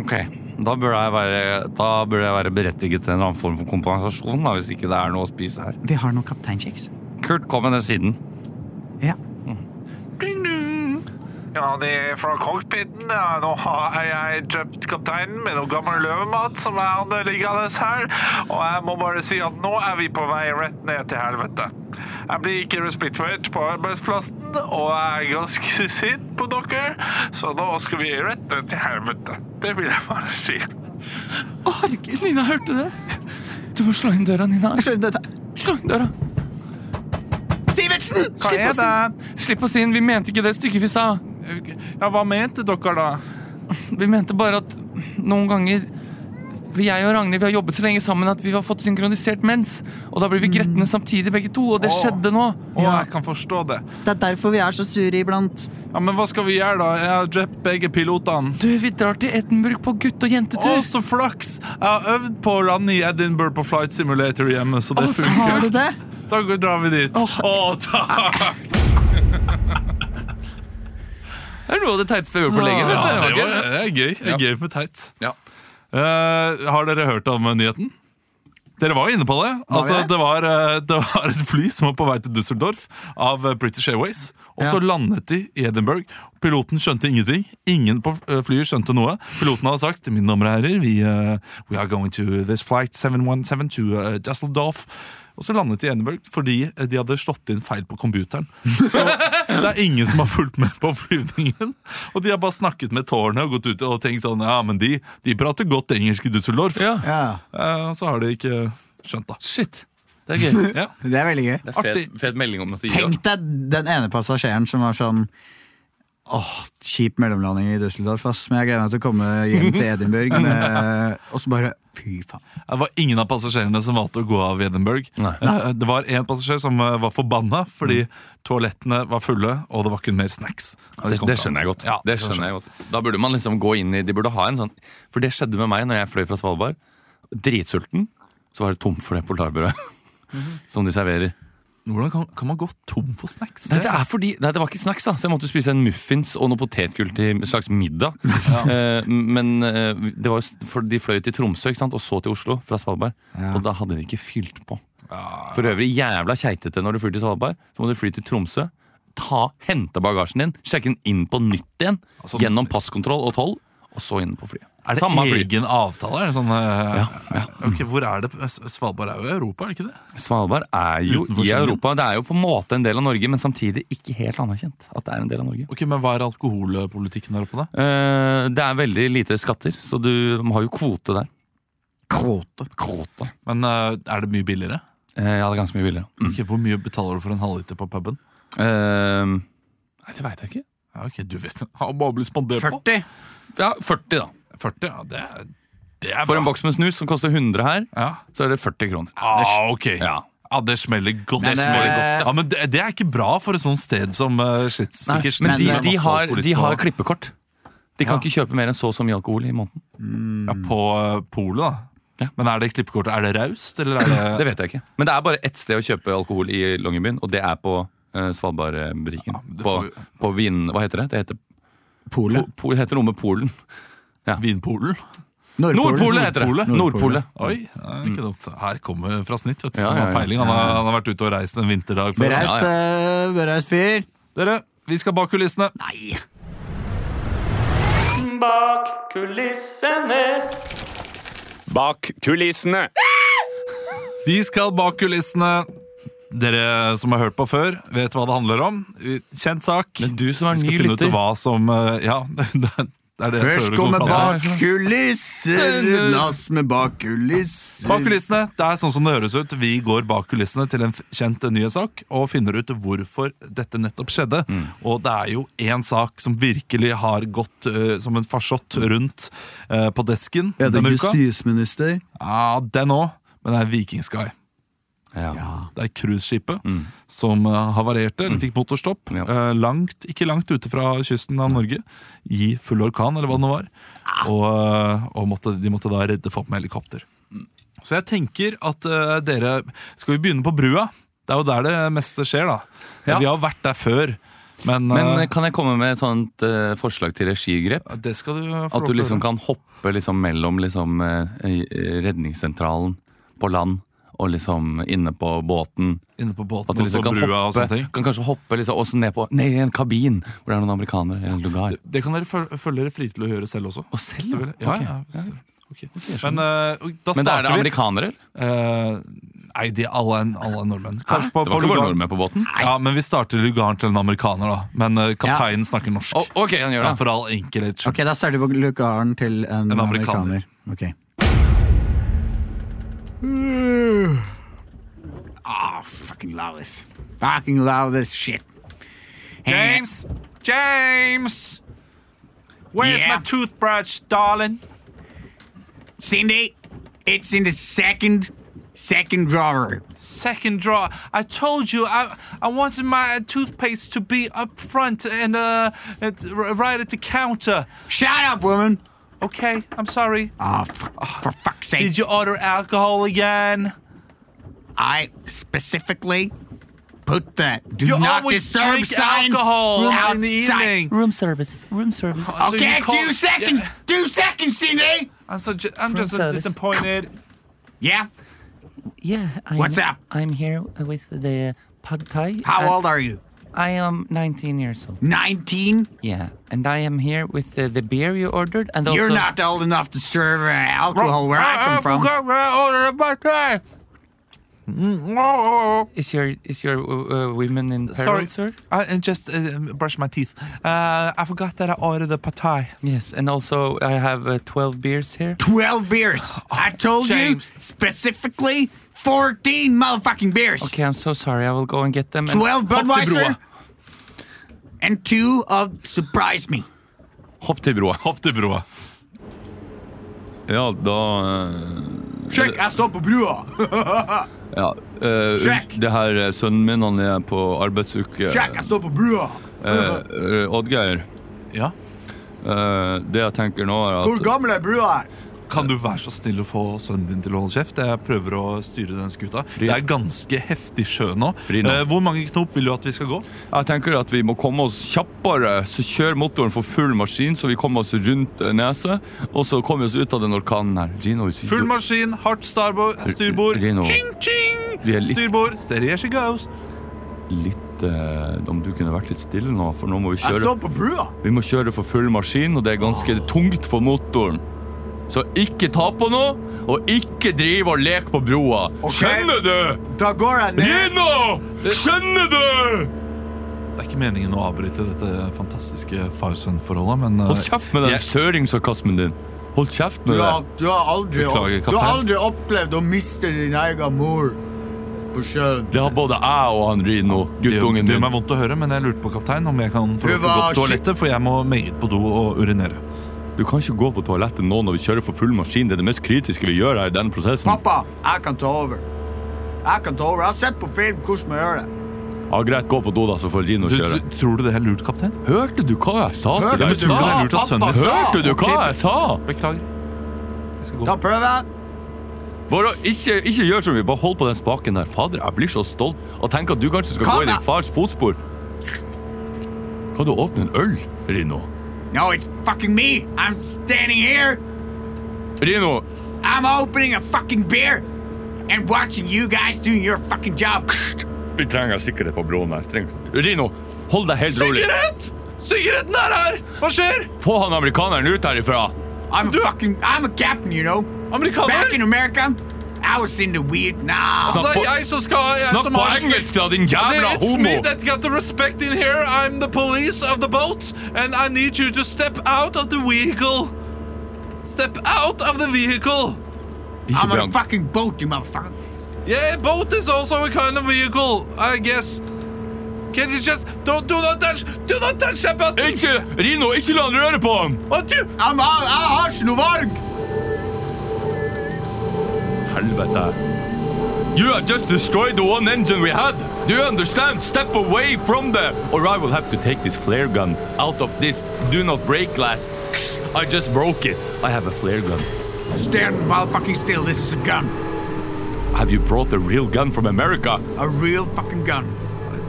Ok, da burde jeg være, da burde jeg være berettiget til en eller annen form for kompensasjon, da, hvis ikke det er noe å spise her. Vi har noen kapteinkjeks. Kurt, kom med den siden. Ja. Ja, det er fra cockpiten. Ja, nå har jeg kjøpt kapteinen med noe gammel løvemat som er underliggende her. Og jeg må bare si at nå er vi på vei rett ned til helvete. Jeg blir ikke respektert på arbeidsplassen, og jeg er ganske sint på dere. Så nå skal vi rett ned til helvete. Det vil jeg bare si. Å, herregud, Nina, hørte du det? Du må slå inn døra, Nina. Slå inn døra. Sivertsen! Hva er det? Slipp oss inn. Vi mente ikke det stykket vi sa. Ja, hva mente dere da? Vi mente bare at noen ganger jeg og Ragnhild vi har jobbet så lenge sammen at vi har fått synkronisert mens. Og da blir vi gretne samtidig, begge to. Og det Mm. Åh. skjedde nå. Å, jeg kan forstå det. Det er derfor vi er så sure iblant. Ja, Men hva skal vi gjøre, da? Jeg har drept begge pilotene. Du, vi drar til Edinburgh på gutt- og Å, jentetur. så flaks! Jeg har øvd på Ranni Edinburgh på Flight Simulator hjemme, så det Har funker. du det? Da går- drar vi dit. Å, takk! Det er noe av det teiteste vi har gjort på lenge. Ja, vet det, du. var, det er gøy. Det er gøy med teit. Ja. Eh, har dere hørt om nyheten? Dere var jo inne på det. Altså, det, var, eh, det var et fly som var på vei til Düsseldorf av eh, British Airways. Og så landet de i Edinburgh. Piloten skjønte ingenting. Ingen på eh, flyet skjønte noe. Piloten hadde sagt mine damer og herrer, vi, eh, we are going to this flight 717 to uh, Düsseldorf. Og så landet de i Edinburgh fordi eh, de hadde slått inn feil på computeren. Så det er ingen som har fulgt med på flyvningen. Og de har bare snakket med tårnet og gått ut og tenkt sånn Ja, men de, de prater godt engelsk i Düsseldorf. Ja, Eh, og så har de ikke skjønt, da. Shit. Det er gøy. Ja. det er veldig gøy. Det er fet, Artig. fet melding om at de Tenk deg den ene passasjeren som var sånn Åh, kjip mellomlanding i Düsseldorf, ass. Men jeg gleder meg til å komme hjem til Edinburgh. Med, og så bare Fy faen. Det var ingen av passasjerene som valgte å gå av i Edinburgh. Eh, det var én passasjer som eh, var forbanna fordi toalettene var fulle, og det var kun mer snacks. når de Det, kom det fram. skjønner jeg godt. Ja, det skjønner jeg godt. Da burde man liksom gå inn i De burde ha en sånn For det skjedde med meg når jeg fløy fra Svalbard. Dritsulten. Så var det tomt for det polarbrødet som de serverer. Hvordan kan, kan man gå tom for snacks? Nei, det, er fordi, nei, det var ikke snacks, da så jeg måtte spise en muffins og noe potetgull til en slags middag. Eh, men eh, det var, jo s- for de fløy til Tromsø ikke sant? og så til Oslo fra Svalbard. Og da hadde de ikke fylt på. For øvrig jævla keitete når du flyr til Svalbard. Så må du fly til Tromsø, ta, hente bagasjen din, sjekke den inn på nytt igjen. Altså- gjennom passkontroll og toll, og så inn på flyet. Er det Samme fly. egen avtale? Er det sånn, eh, ok, hvor er det? Svalbard er jo i Europa, er det ikke det? Svalbard er jo Utenfor i Schengen. Europa. Det er jo på en måte en del av Norge, men samtidig ikke helt anerkjent at det er en del av Norge. Ok, Men hva er alkoholpolitikken der oppe, da? Eh, Det er veldig lite skatter, så du har jo kvote der. Kvote. Kvote? Men eh, er det mye billigere? Eh, Ja, det er ganske mye billigere. Mm. Ok, Hvor mye betaler du for en halvliter på puben? Eh, Nei, det veit jeg ikke. Ja, ok, du vet Han må bli spandert på. 40. Ja, 40, da. 40, ja, det er, det er For en bra. boks med snus som koster 100 her, Ja. så er det 40 kroner. Ah, ok. Ja. Ja, det smeller godt. Men, det smeller eh, godt ja. men det, det er ikke bra for et sånt sted som uh, Nei, sikkert men sliter med de, de, masse har, de alkoholisme har og- klippekort. De kan ikke kjøpe mer enn så og så mye alkohol i måneden. ja, på eh, polet, da. Ja. Men er det klippekortet? Er det raust, eller er det, Det vet jeg ikke. Men det er bare ett sted å kjøpe alkohol i Longyearbyen, og det er på eh, Svalbardbutikken. men det på, får på vin... Hva heter det? Det heter, Polet. po, det heter noe med Polen. Vinpolen? Nordpolen heter det! Nordpolen. Nordpolet. Oi, det er ikke dumt. Her kommer fra snitt, vet du. Ja, som ja, har ja. peiling. Han har, han har vært ute og reist en vinterdag før. Bereist, Ja, eh, bereist fyr. Dere, vi skal bak kulissene. eh. Bak kulissene. Vi skal bak kulissene. Dere som har hørt på før, vet hva det handler om. Kjent sak. Men du som er Vi skal ny finne ut lytter. hva som eh, Ja, det er det jeg Først prøver å kommer komme fram til. bak kulisser, lass med bak kulisser. Bak kulissene, det er sånn som det høres ut. Vi går bak kulissene til en f- kjent nyhetssak og finner ut hvorfor dette nettopp skjedde. Mm. Og det er jo én sak som virkelig har gått eh, som en farsott rundt eh, på desken Er det denne uka. justisminister? Ja, den òg, men det er Viking Sky. Det er cruiseskipet Mm. som eh, havarerte, eller fikk motorstopp, Ja. eh, langt, ikke langt ute fra kysten av Norge, i full orkan, eller hva det nå var. Ah. Og, eh, og måtte, de måtte da redde folk med helikopter. Så jeg tenker at eh, dere Skal vi begynne på brua? Det er jo der det meste skjer, da. Ja. Vi har vært der før, men, Men eh, kan jeg komme med et sånt eh, forslag til regigrep? det skal du få lov At du til å liksom gjøre. kan hoppe liksom mellom liksom, eh, eh, redningssentralen på land og liksom inne på båten. Inne på båten At du og så liksom kan, brua og sånne hoppe, ting. kan kanskje hoppe liksom, også ned, på, ned i en kabin hvor det er noen amerikanere. Eller lugar. Det kan dere føl- føle dere fri til å gjøre selv også. Og selv, Hvis du vil. ja, Ok. ja, hvis du- ok. Men eh, og da Men da er det starter vi. amerikanere? eller? Eh, nei, de alle, er- alle er nordmenn. Kanskje på, på Det var ikke bare Lugaren. nordmenn på båten? Ja, men vi starter lugaren til en amerikaner, da. Men eh, kapteinen snakker norsk. Å, ok, han gjør Ja, det. for all enkelhet skyld. Ok, da starter vi på lugaren til en, En amerikaner. amerikaner. Ok. Ah, fucking love this. Fucking love this shit. James! James! Where's Yeah. my toothbrush, darling? Cindy, it's in the second, second drawer. Second drawer. I told you I I wanted my toothpaste to be up front and uh at, r- right at the counter. Shut up, woman. Okay, I'm sorry. Oh, for, for fuck's sake. Did you order alcohol again? I specifically put the do You not always disturb drink sign alcohol outside. in the evening. Room service. Room service. Altså, So you Okay, call- two seconds. Yeah, Two seconds, Cindy. I'm so ju- I'm just so service. disappointed. Yeah. Yeah. I'm, What's up? I'm here with the pad thai. How Uh, old are you? I am 19 years old. Nineteen. Yeah, and I am here with uh, the beer you ordered, and also You're not old enough to serve uh, alcohol where I uh, come from. uh, Mm-hmm. Is your is your uh, uh, women in peril, Sorry, sir? I I just uh, brushed my teeth. Uh, I forgot that I ordered a pad thai. Yes, and also I have uh, 12 beers here. 12 beers. I told James. you specifically 14 motherfucking beers. Okay, I'm so sorry. I will go and get them. and- 12 Hopp til broa. Budweiser. And two of Surprise Me. Hopp til broa. Hopp til broa. Ja, da eh, Sjekk, jeg står på brua. ja, eh, Sjekk! unnskyld, Det her er sønnen min. Han er på arbeidsuke. Sjekk, jeg står på brua. Eh, eh, Oddgeir, Ja. eh, det jeg tenker nå, er Hvor at gammel er brua her? Kan du være så snill å få sønnen din til å holde kjeft? Jeg prøver å styre den skuta. Det er ganske heftig sjø nå. Brynå. Eh, hvor mange knop vil du at vi skal gå? Jeg tenker at vi må komme oss kjappere, så kjør motoren for full maskin, så vi kommer oss rundt eh, neset, og så kommer vi oss ut av den orkanen her. Gino, Full maskin, hardt starbo- styrbord. Brynå. Ching, ching! Vi er litt- Styrbord. Steady as she goes. litt eh, Om du kunne vært litt stille nå, for nå må vi Jeg kjøre står på brua. Vi må kjøre for full maskin, og det er ganske tungt for motoren. Så ikke ta på noe, og ikke drive og leke på broa. Skjønner du? Da går jeg ned. Rino! Skjønner du? Det er ikke meningen å avbryte dette fantastiske far-sønn-forholdet, men eh, Hold kjeft med den jeg- søringsarkasmen din. Hold kjeft Du med det. har, du, har aldri, du Beklager, har kaptein. aldri opplevd å miste din egen mor på sjøen. Det har både jeg og han Rino, Det gjør, guttungen det gjør min. meg vondt å høre, men jeg lurte på kaptein om jeg kan få Du lov til å gå var på toalettet, for jeg må meget på do og urinere. Du kan ikke gå på toalettet nå når vi kjører for full maskin. Det er det mest kritiske vi gjør her i den prosessen. Pappa, jeg kan ta over. Jeg kan ta over. Jeg har sett på film hvordan man gjør det. Ja, greit, gå på do, da, så får Rino Du, kjøre. du, tror du det er lurt, kaptein? Hørte du hva jeg sa til Ja, men deg? du kan ha lurt av sønnen din. Hørte du hva jeg sa? Beklager. Jeg skal gå. Da prøver jeg. Bare ikke, ikke gjør som vi, bare hold på den spaken der. Fader, jeg blir så stolt og tenker at du kanskje skal Kom gå i din da! fars fotspor. Kan du åpne en øl, Rino? No, it's fucking me. I'm standing here. Rino, I'm opening a fucking beer and watching you guys doing your fucking job. vi trenger sikkerhet på broen her. Trenger. Rino, hold deg helt rolig. Sigarett! Sigaretten er her! Hva skjer? Få han amerikaneren ut herifra. I'm a fucking. I'm a captain, you know. Back Amerikaner! in America, I was in the weird. Nah. Så det Snakk er på- jeg som skal jeg Snakk som på har- engelsk, da, din jævla It's me homo! that got the respect in here. I'm the police of the boat, and I need you to step out of the vehicle. Step out of the vehicle. Ikke I'm on a bra. fucking boat, you motherfucker. Yeah, boat is also a kind of vehicle, I guess. Can you just don't do not touch, do not touch that button. Ikke, Rino, ikke la han røre på han! What you? I'm all. I har ikke noe valg. Helvete. You have just destroyed the one engine we had. Do you understand? Step away from the... Or I will have to take this flare gun out of this do not break glass. I just broke it. I have a flare gun. Stand motherfucking still. This is a gun. Have you brought a real gun from America? A real fucking gun.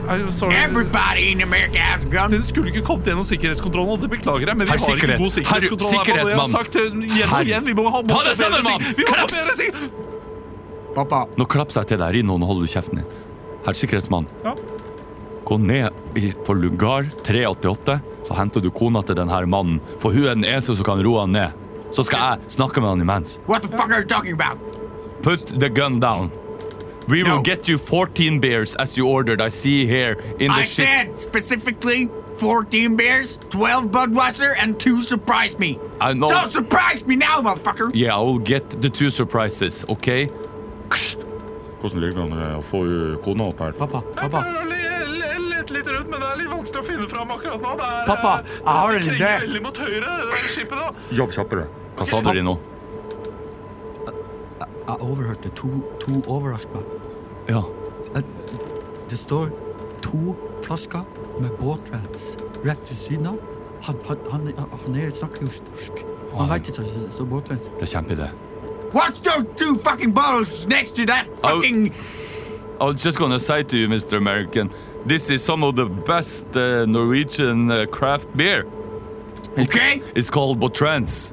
I'm sorry. Everybody in America has a gun. Den skulle ikke kommet gjennom sikkerhetskontrollen, og det beklager jeg, men vi Herr har ikke sikkerhet. god sikkerhetskontroll. Herr her, det jeg har sikkerhetsmann. sagt eh, igjen og Herr- igjen. Vi må ha må Ta det ha bedre sammen, mann! sik- Vi må ha Klaps! bedre sik- Pappa. Nå klapser jeg til deg, Rino. Nå holder du kjeften din. Herr sikkerhetsmann. Ja. Gå ned i- på lugar 388, så henter du kona til denne mannen. For hun er den eneste som kan roe han ned. Så skal jeg snakke med han imens. What the fuck are you talking about? Put the gun down. We will No. get you 14 beers as you ordered. I see here in the I ship. said specifically 14 beers, 12 Budweiser, and two surprise me. I know. So surprise me now, motherfucker. Yeah, I will get the two surprises, okay? Hvordan ligger det an å få kona opp her? Pappa, pappa, Lett litt rundt, men det er litt vanskelig å finne fram akkurat nå. Det er, Pappa, eh, jeg har en det idé. kringer veldig mot høyre, det skipet nå. Jobb kjappere. Hva sa dere nå? Jeg overhørte to, to overraskelser. Ja. Jeg- Det står to flasker med båtrats rett ved siden av. Han, han, han, han er, snakker jo ikke norsk. Han vet ikke at det står båtrats. Det er kjempeidé. What's those two fucking bottles next to that Oh. fucking I was just gonna say to you, Mr. American, this is some of the best uh, Norwegian uh, craft beer. Okay? It's called Botrans,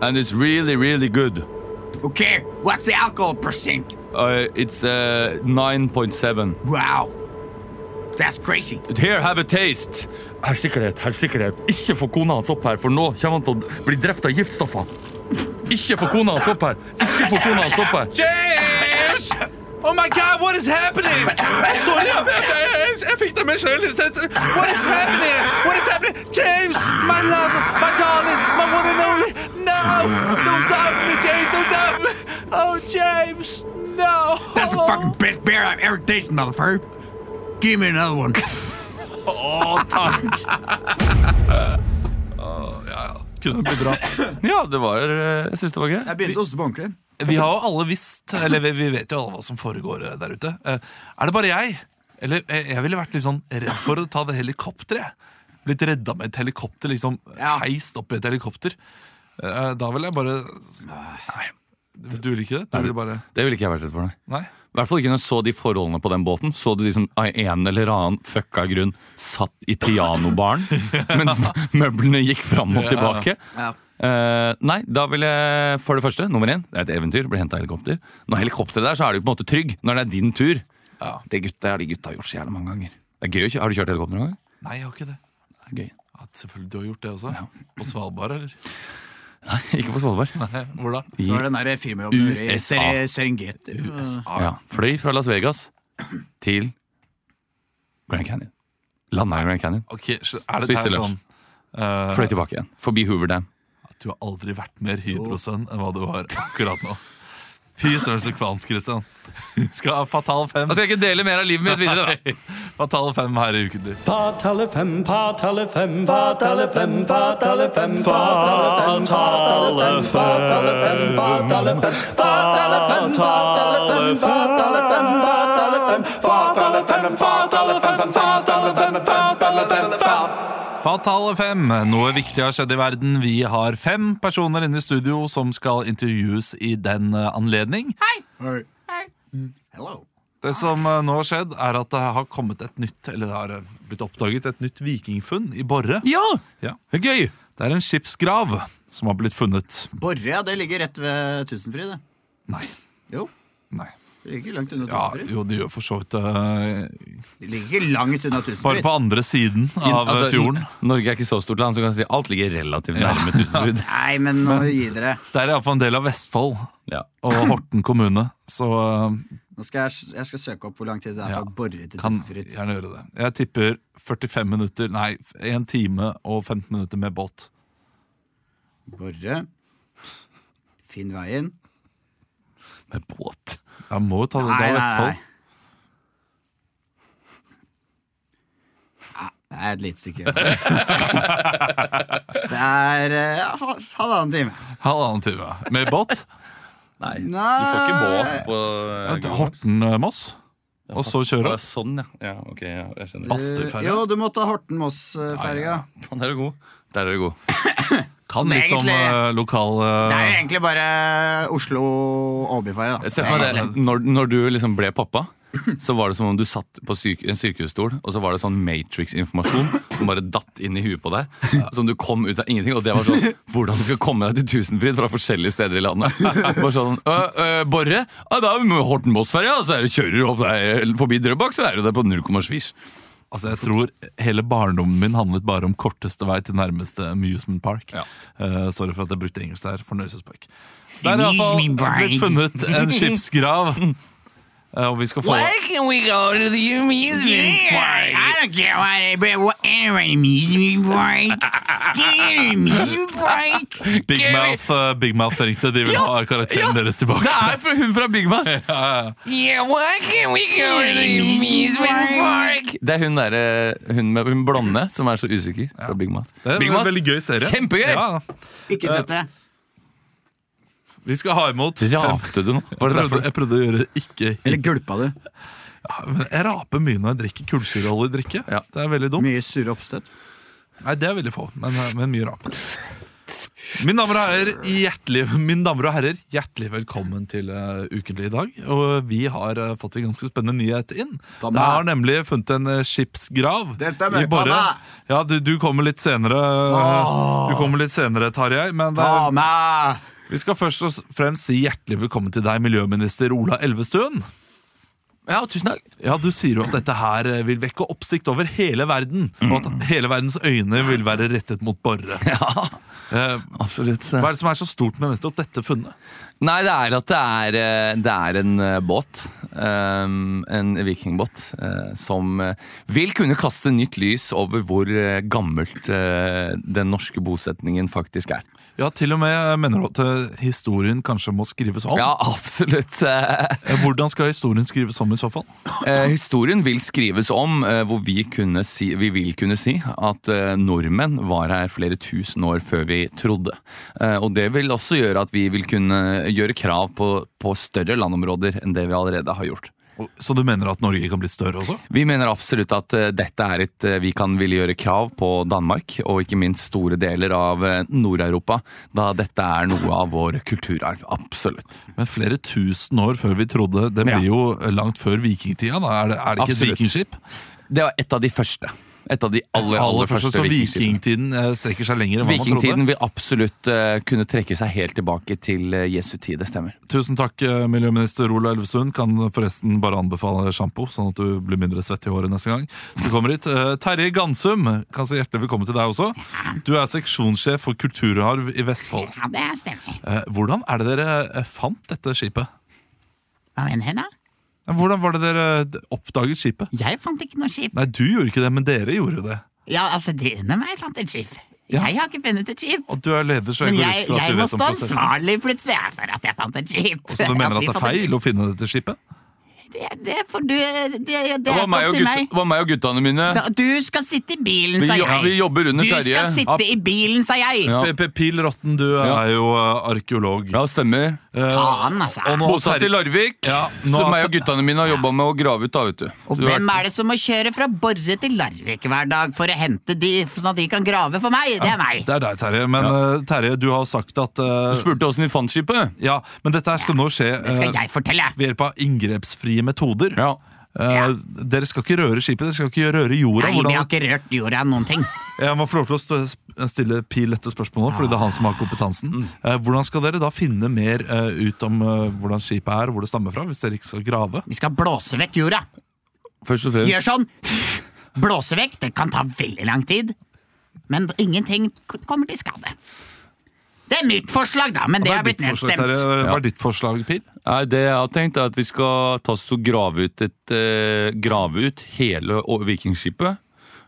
and it's really, really good. Okay, what's the alcohol percent? Uh, it's uh, 9.7. Wow. That's crazy. Here, have a taste. Herr sikkerhet, herr sikkerhet. Ikke få kona hans opp her, for nå kommer han til å bli drept av giftstoffer. Ikke få kona hans opp her. Ikke få kona hans opp her. Cheers! Oh my god, what is happening? Sorry, jeg, jeg, jeg, jeg fikk det med selv. What is happening? What is happening? James, my love, my darling, my one and only. No, don't die for me, James, don't die for me. Oh, James, no. That's the fucking best beer I've ever tasted, motherfucker. Give me another one. Kunne bli bra. Eh, Ja, det var, eh, jeg synes det var gøy. Jeg begynte å hoste på ordentlig. Vi har jo alle visst, eller vi, vi vet jo alle hva som foregår eh, der ute. Eh, Er det bare jeg? Eller eh, jeg ville vært litt sånn redd for å ta det helikopteret. Blitt redda med et helikopter, liksom heist opp i et helikopter. Eh, Da ville jeg bare Nei. Du vil ikke det? Du vil bare Det ville ikke jeg vært redd for, nei. Nei? I hvert fall ikke når jeg så de forholdene på den båten. Så du de som av en eller annen fucka grunn satt i pianobaren mens møblene gikk fram og tilbake. Eh, nei, da vil jeg for det første, nummer én, det er et eventyr, blir henta helikopter. Når helikopteret er der, så er du på en måte trygg. Når det er din tur. Ja. Det, gutta, det har de gutta gjort så jævlig mange ganger. Det er gøy, å kjø- Har du kjørt helikopter noen gang? Nei, jeg har ikke det. Det er gøy. Ja, selvfølgelig, Du har gjort det også? På Svalbard, eller? Nei, ikke på Svalbard. Nei, Hvor da? Det var den der firmajobben du gjorde i USA. Ser- Serengeti. Ja. Fløy fra Las Vegas til Grand Canyon. Landa i Grand Canyon. Ok, så er det Spiste her lunsj. sånn eh, Fløy tilbake igjen. Forbi Hoover Dam. at Du har aldri vært mer hydrosønn enn hva du var akkurat nå. Fy søren så kvalmt, Christian. Skal ha Fatal 5. skal jeg ikke dele mer av livet mitt videre, da. Fatal 5 her i Ukentlig. Fatale fem, fatale fem, fatale fem, fatale fem, fatale fem, fatale Uh, fem, fatale fem, fatale fem, fatale fem, fatale fem, fatale fem, fatale fem, fatale fem, fatale fem, fatale fem, fatale fem. Fatal 5. Noe viktig har skjedd i verden. Vi har fem personer inne i studio som skal intervjues i den eh, anledning. Hei. Mm, Hello. Det som eh, nå har skjedd, er at det har kommet et nytt Eller det har eh, blitt oppdaget et nytt vikingfunn i Borre. Ja! Ja. Det er gøy! Det er en skipsgrav som har blitt funnet. Borre, ja, det ligger rett ved Tusenfryd, det. Nei. Jo, Nei. det ligger ikke langt unna Ja, Tusenfryd. jo, det gjør for så vidt eh, det. Det ligger ikke langt unna Bare Tusenfryd. på andre siden av eh, Altså, fjorden. N- Norge er ikke så stort land, så kan jeg si alt ligger relativt nærme Tusenfryd. Nei, men nå gi dere. Det er iallfall en del av Vestfold Ja. og Horten kommune. Så eh, Nå skal jeg, jeg skal søke opp hvor lang tid det er Ja. fra Borre til kan Tusenfryd. gjerne gjøre det. Jeg tipper 45 minutter, nei, 1 time og 15 minutter med båt. Borre. Finn veien. Med båt. Jeg må jo ta det, det er Vestfold. Nei, Det er et lite stykke. det er eh, ha- halvannen time. Halvannen time. Med båt. Nei. Nei. Du får ikke båt på Horten-Moss. Og så Å, kjøre ja, opp. Sånn, ja. ja. Ok, ja, jeg skjønner. Bastøyferja. Eh, Jo, du må ta Horten-Moss-ferga. Faen, der er du god. Der er du god. Kan det er litt om egentlig- eh, lokal Det er jo eh, egentlig bare Oslo-Åbyferja, da. Jeg ser for meg det, når, når du liksom ble pappa, så var det som om du satt på syk, en sykehusstol, og så var det sånn Matrix-informasjon som bare datt inn i huet på deg. Som du kom ut av ingenting. Og det var sånn Hvordan du skal komme deg til Tusenfryd fra forskjellige steder i landet. Bare sånn «Ø, ø, Borre? Ja, da er vi med Horten-Moss-ferja, og så er det, kjører du opp der forbi Drøbak, så er du der på null komma svisj. Altså, jeg tror hele barndommen min handlet bare om korteste vei til nærmeste amusement park. Ja. Eh, sorry for at jeg brukte engelsk der. Fornøyelsespark. Det er iallfall blitt funnet en skipsgrav. Eh, og vi skal få can we go to the amusement park? I don't care what it but what anyway amusement park. Give me an amusement park. Big Mouth, eh, Big Mouth ringte. De vil ha karakteren deres tilbake. er fra hun fra Big Mac! Yeah, why can't we go to the amusement park? Det er hun, der, eh, hun, med, hun blonde som er så usikker fra Big Mac. Det er Big en Mouth. veldig gøy serie. Kjempegøy! Ja. Ikke sett det. Vi skal ha imot. Rapte du nå? Jeg Var det derfor? prøvde, jeg prøvde å gjøre det ikke Eller gulpa du? Men jeg raper mye når jeg drikker kullsyreholdig drikke. Ja. Det er veldig dumt. Mye surre oppstøt? Nei, det er veldig få, men, men mye rap. Mine damer, og herrer, hjertelig, mine damer og herrer, hjertelig velkommen til eh, Ukentlig i dag. Og vi har eh, fått en ganske spennende nyhet inn. Damer. Det har nemlig funnet en eh, skipsgrav. Det stemmer, i Borre. damer. Ja, du, du kommer litt senere, eh, Du kommer litt senere, Tarjei. Men eh, Ta meg! vi skal først og fremst si hjertelig velkommen til deg, miljøminister Ola Elvestuen. Ja, tusen takk. Ja, Du sier jo at dette her eh, vil vekke oppsikt over hele verden. Og Mm. at hele verdens øyne vil være rettet mot Borre. Eh, Absolutt. Hva er det som er så stort med nettopp dette funnet? Nei, det er at det er, eh, det er en eh, båt. ehm, en vikingbåt eh, som eh, vil kunne kaste nytt lys over hvor eh, gammelt eh, den norske bosetningen faktisk er. Ja, til og med mener du at eh, historien kanskje må skrives om? Ja, absolutt. Eh, Eh, Hvordan skal historien skrives om i så fall? Eh, historien vil skrives om eh, hvor vi, kunne si, vi vil kunne si at eh, nordmenn var her flere tusen år før vi trodde. Eh, og det vil også gjøre at vi vil kunne gjøre krav på, på større landområder enn det vi allerede har gjort. Og- Så du mener at Norge kan bli større også? Vi mener absolutt at eh, dette er et eh, vi kan ville gjøre krav på Danmark, og ikke minst store deler av eh, Nord-Europa, da dette er noe av vår kulturarv. Absolutt. Men flere tusen år før vi trodde. Det Ja. blir jo langt før vikingtida. Da. Er, det, er det ikke Absolutt. et vikingskip? Det var et av de første. Et av de aller, aller, første, så vikingskipene. vikingtiden eh, strekker seg lenger enn hva man trodde? Vikingtiden vil absolutt eh, kunne trekke seg helt tilbake til eh, Jesu tid, det stemmer. Tusen takk, eh, miljøminister Ola Elvestuen. Kan forresten bare anbefale sjampo, sånn at du blir mindre svett i håret neste gang du kommer hit. Eh, Terje Gansum, kan si hjertelig velkommen til deg også. Du er seksjonssjef for kulturarv i Vestfold. Ja, det stemmer. Eh, Hvordan er det dere eh, fant dette skipet? Hva mener du da? Hvordan var det dere d- oppdaget skipet? Jeg fant ikke noe skip. Nei, du gjorde ikke det, men dere gjorde det. Ja, altså, dine meg fant et skip. Jeg har ikke funnet et skip. Og du er leder, så jeg Men går jeg, ut fra at jeg du må vet om stå prosessen. ansvarlig plutselig jeg, for at jeg fant et skip. Så du mener vi at det er fant et skip. feil å finne dette skipet? Det, det får du Det, det, Det er var meg opp og, til gutta, meg. var meg og guttene mine. Da, du skal sitte i bilen, Vi sa jo- jeg. vi jobber under du Terje. skal sitte i bilen, sa jeg. Ja. P- P- Pil Rotten, du Ja. er jo eh, arkeolog. Eh, Ja, stemmer. Faen, altså. Og nå har Bosatt i Terje- Larvik. Ja, nå så har meg og guttene mine har jobba med å grave ut, da, vet du. Og Du har- hvem er det som må kjøre fra Borre til Larvik hver dag for å hente de, sånn at de kan grave for meg? Det er meg. Det er deg, Terje. Men eh, Terje, du har sagt at eh, Du spurte åssen vi fant skipet. Ja, men dette her skal nå skje Det skal eh, jeg fortelle. ved hjelp av inngrepsfrie metoder. Ja. Eh, Ja. Dere skal ikke røre skipet, dere skal ikke røre jorda. Nei, vi har ikke rørt jorda noen ting. Jeg må få lov til å st- stille Pil dette spørsmålet, nå, fordi det er han som har kompetansen. Mm. Eh, Hvordan skal dere da finne mer eh, ut om eh, hvordan skipet er, og hvor det stammer fra, hvis dere ikke skal grave? Vi skal blåse vekk jorda. Først og fremst. Gjør sånn. Blåse vekk. Det kan ta veldig lang tid. Men ingenting k- kommer til skade. Det er mitt forslag, da, men det Hva er blitt ditt forslag, nedstemt. Terje? eh, Hva er ditt forslag, Pil? Nei, det jeg har tenkt er at vi skal ta oss og grave ut, et, eh, grave ut hele å- vikingskipet.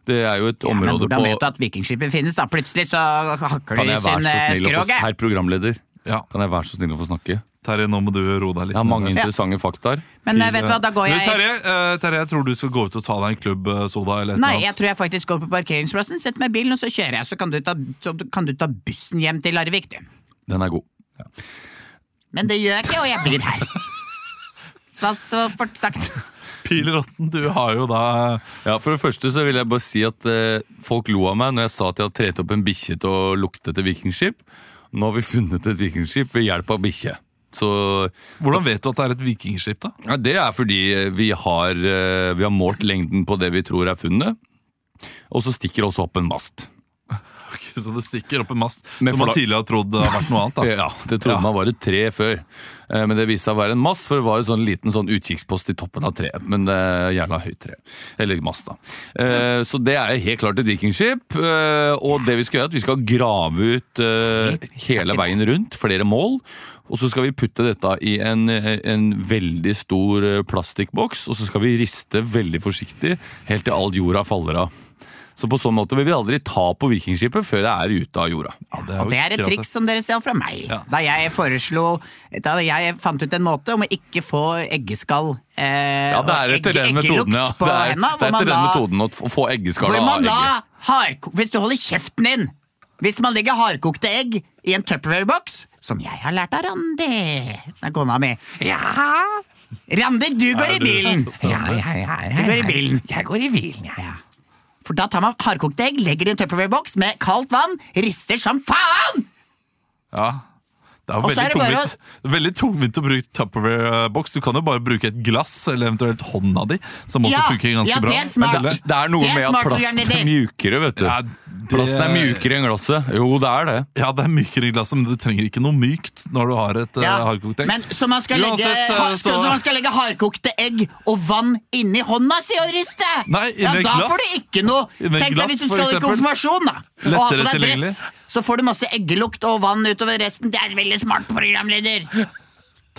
Det er jo et Ja, men område hvordan på vet du at vikingskipet finnes, da? Plutselig så hakker Kan de jeg være sin så eh, snill å få skroge. Herr programleder, Ja, kan jeg være så snill å få snakke? Terje, nå må du roe deg litt. Jeg har mange ned. interessante faktaer. Men eh, vet du hva, da går Du, jeg Terje, eh, Terje, jeg tror du skal gå ut og ta deg en klubb eh, soda eller et Nei, eller jeg annet. tror jeg faktisk går på parkeringsplassen, setter meg i bilen, og så kjører jeg. Så kan du ta, så kan du ta bussen hjem til Larvik, du. Den er god. Men det gjør jeg ikke, og jeg blir her. Så, så fort sagt. Pil Rotten, du har jo da Ja, For det første så vil jeg bare si at eh, folk lo av meg når jeg sa at jeg hadde tret opp en bikkje til å lukte etter vikingskip. Nå har vi funnet et vikingskip ved hjelp av bikkje. Så Hvordan vet du at det er et vikingskip, da? ja, Det er fordi vi har, eh, vi har målt lengden på det vi tror er funnet, og så stikker det også opp en mast. Så det stikker opp en mast Med som man forlag- tidligere har trodd det har vært noe annet. da Ja, Det trodde Ja. man var et tre før, Eh, men det viste seg å være en mast. For det var en sånn liten sånn utkikkspost i toppen av treet. Men det er jævla høyt tre. Eller mast, da. Eh, Så det er helt klart et vikingskip. eh, Og det vi skal gjøre, er at vi skal grave ut eh, hele veien rundt, flere mål. Og så skal vi putte dette i en, en veldig stor eh, plastikkboks, og så skal vi riste veldig forsiktig helt til all jorda faller av. Så på sånn måte vil vi aldri ta på vikingskipet før det er ute av jorda. er jo Og det er et kreativt. altså. triks som dere ser fra meg. Da jeg foreslo Da jeg fant ut en måte om å ikke få eggeskall eh, Ja, det er og etter den metoden, ja. på Det er, henda, det hvor er man etter den da- metoden å t- få eggeskall Hvor av man da egget. hardko- Hvis du holder kjeften din Hvis man legger hardkokte egg i en Tupperware-boks Som jeg har lært av Randi, sa kona mi. Ja, Randi, du går i bilen! Ja, jeg er Du går i bilen. Jeg går i bilen, ja. For da tar man hardkokte egg, legger det i en Tupperware-boks med kaldt vann, rister som faen! Ja. Det er Og så veldig er det bare tungvint, veldig tungvint å bruke Tupperware-boks. Du kan jo bare bruke et glass, eller eventuelt hånda di, som også Ja, funker ganske ja, det bra. er smart. Men Det er noe Det er med at smart, plasten Bjørn er Idil. mjukere, vet du. Ja, det- Plasten er mjukere enn glasset. Jo, det er det. Ja, det er mykere i glasset, men du trenger ikke noe mykt når du har et eh, ja. Ja, hardkokt egg. Men så man, skal legge, Uansett, eh, ha- så- så... man skal legge hardkokte egg og vann inni hånda si og riste! Nei, inni ja, et da glass. får du ikke noe Inni et Tenk deg glass, hvis du for skal i eksempel. konfirmasjon, da! Og ha Lettere på deg tilgjengelig. dress, så får du masse eggelukt og vann utover resten. Det er veldig smart, programleder!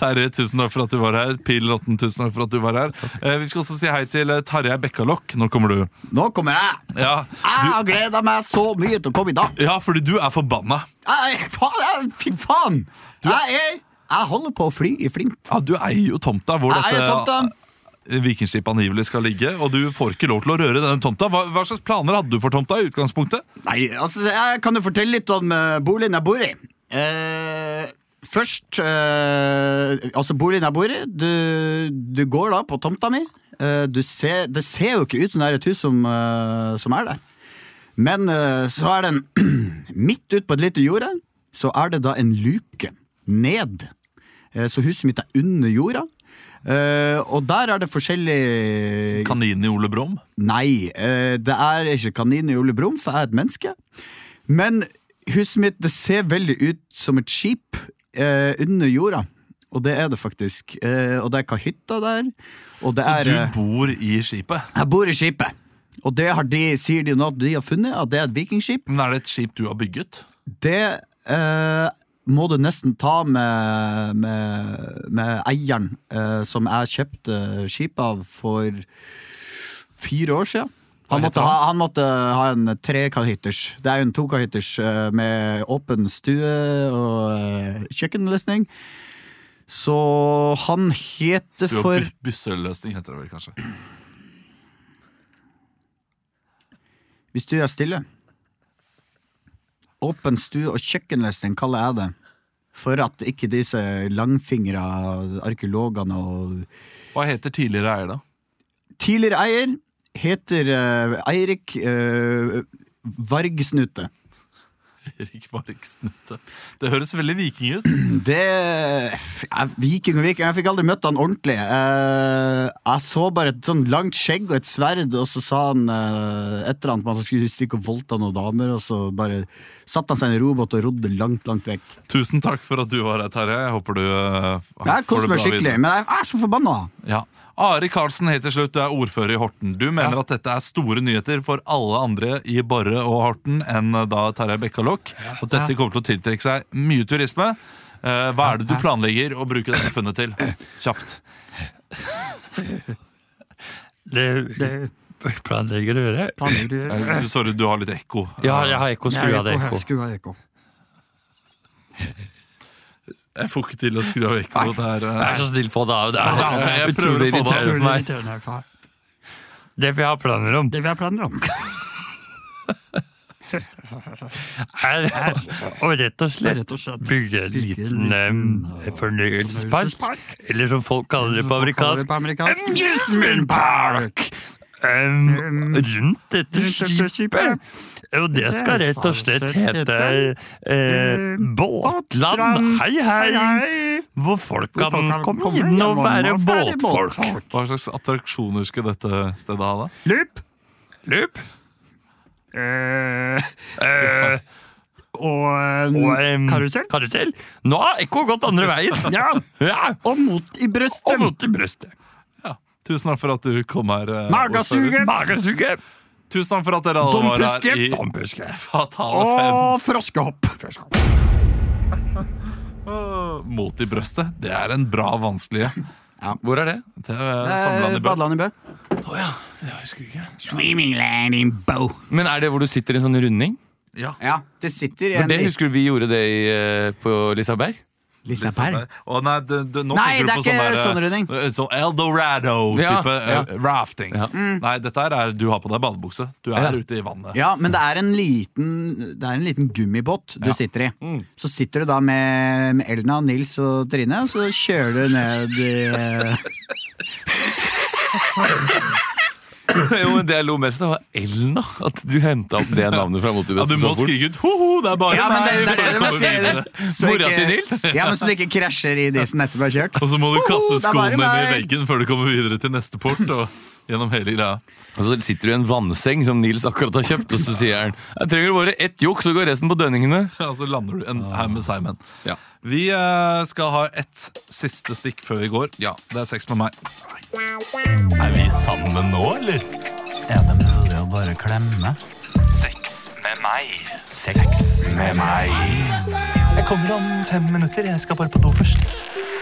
Terje, tusen takk for at du var her. Pil Rotten, tusen takk for at du var her. Eh, vi skal også si hei til eh, Tarjei Bekkalokk. Nå kommer du. Nå kommer jeg! Ja, Jeg har gleda meg så mye til å komme i dag. ja fordi du er forbanna. Jeg- jeg- faen, jeg- Fy faen! Jeg er Jeg holder på å fly i flint. Ja, du eier jo tomta hvor Jeg er tomt, dette da. Vikingskip angivelig skal ligge, og du får ikke lov til å røre denne tomta. Hva, hva slags planer hadde du for tomta i utgangspunktet? Nei, altså, jeg kan jo fortelle litt om eh, boligen jeg bor i. Eh, først eh, Altså, boligen jeg bor i, du, du går da på tomta mi. Eh, du ser, det ser jo ikke ut som det er et hus som, eh, som er der. Men eh, så er den midt ute på et lite jorde, så er det da en luke ned. Eh, så huset mitt er under jorda. Eh, og der er det forskjellige Kaninen i Ole Brumm? Nei, eh, det er ikke kaninen i Ole Brumm, for jeg er et menneske. Men huset mitt det ser veldig ut som et skip eh, under jorda. Og det er det faktisk. Eh, og det er kahytta der. Og det Så er, du eh, bor i skipet? Jeg bor i skipet. Og det har de, sier de nå at de har funnet, at det er et vikingskip. Men er det et skip du har bygget? Det eh, må du nesten ta med, med, med eieren, eh, som jeg kjøpte skipet av for fire år siden. Han måtte, ha, han måtte ha en trekahytters. Det er jo en tokahytters eh, med åpen stue og eh, kjøkkenløsning. Så han heter Du har for bu- Busseløsning heter det vel kanskje. Hvis du er stille Åpen stue og kjøkkenløsning kaller jeg det For at ikke disse langfingre Arkeologene og Hva heter tidligere eier, da? Tidligere eier Heter eh, Eirik eh, Vargsnute Erik Marksnute. Det høres veldig viking ut. Det f- jeg, Viking og viking Jeg fikk aldri møtt han ordentlig Eh, Jeg så bare et sånn langt skjegg og et sverd Og så sa han eh, et eller annet om at Han skulle stikke og voldta noen damer Og så bare satt han seg i en robot og rodde langt, langt vekk Tusen takk for at du var her, Terje. Jeg håper du eh, Jeg får det koser meg bra skikkelig, videre. men jeg er så forbanna. Ja. Ari Karlsen helt til slutt, du er ordfører i Horten. Du mener at dette er store nyheter for alle andre i Borre og Horten enn eh, da Terje Bekkalokk. Og dette kommer til å tiltrekke seg mye turisme. Eh, Hva er det du planlegger å bruke dette funnet til? Kjapt. Det, det planlegger å gjøre. Planlegger Eh, Sorry, du har litt ekko. Ja, jeg har ekko. Skru av det ekko her. ekko. Skru av Eko. Jeg får ikke til å skru av ekkoet her. eh. Vær så snill, få det av. Det er Jeg prøver utrolig å få det av. irriterende for meg. Det Det vi har planer om, vi har planer om. er å rett og slett Rett og slett. bygge en liten em, fornøyelsespark. Eller som folk kaller det på Kaller det amerikansk på amerikansk. Amusement Park! Em, rundt dette skipet. Og det skal rett og slett hete eh, Båtland. Hei, hei! Hvor folk kan komme inn og være båtfolk. Hva slags attraksjoner skulle dette stedet ha, da? Loop. Løp. Eh, Eh, og og eh, em, karusell. karusell. Nå har ekko gått andre veien. Ja, Ja, og mot i brøstet. og mot i brøstet. Tusen takk for at du kom her. eh, Magasuget. Magesuge, ordfører. Tusen takk for at dere alle var her i dompuske. Fatale Og froskehopp. 5. Mot i brøstet. Det er en bra vanskelig Hvor er det? Det er Samland i Bø. Badeland i Bø. Swimming land in bow. Men er det hvor du sitter i en sånn runding? Ja, det sitter For en det i husker du vi gjorde det i, eh, på Lisaberg? Liseberg? Å nei, du, du, nå Nei, tenker du det er på sånn ikke der, sånn runding. eh, Sånn Eldorado-type Ja, eh, rafting. Ja. Nei, dette her er du har på deg badebukse. Du er Ja. ute i vannet. Ja, men det er en liten, det er en liten gummibåt du sitter i. Mm. Så sitter du da med, med Elna, Nils og Trine, og så kjører du ned i jo, men Det jeg lo mest av, var Elna. At du henta opp det navnet fra Ja, du må motivasjonsordet. skrike ut ho-ho, det er bare Ja, men det, meg! det, er det du må for å komme skrive. videre. Så Mora ikke- til Nils? Ja, men Så du ikke krasjer i disen etter å ha kjørt. Og så må du kaste det er bare skoene ned i meg. veggen før du kommer videre til neste port. Og gjennom hele greia Og så sitter du i en vannseng som Nils akkurat har kjøpt, og så sier han Jeg trenger bare ett jokk, så går resten på dønningene. Og så lander du en haug med seigmenn. Ja. Vi eh, skal ha ett siste stikk før vi går. Ja. Det er sex med meg. Er vi sammen nå, eller? Er det mulig å bare klemme? Sex med meg. Sex med meg. Jeg kommer om fem minutter. Jeg skal bare på do først.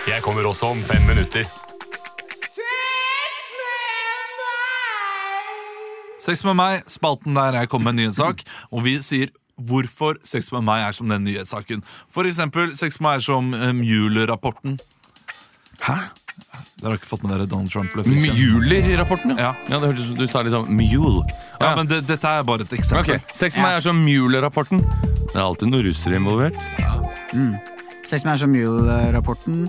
Jeg kommer også om fem minutter. Sex med meg, spalten der jeg kommer med en nyhetssak, og vi sier hvorfor sex med meg er som den nyhetssaken. For eksempel, sex med meg er som eh, Mueller-rapporten. Hæ? Dere har ikke fått med dere Donald Trump? ble frikjent. Muler i rapporten, Ja. ja. ja det hørtes ut som du sa litt sånn mule. Ja, men det, dette er bare et eksempel. Ok, Sex med meg er som Mueller-rapporten. Det er alltid noen russere involvert. Sex Man som Mule-rapporten.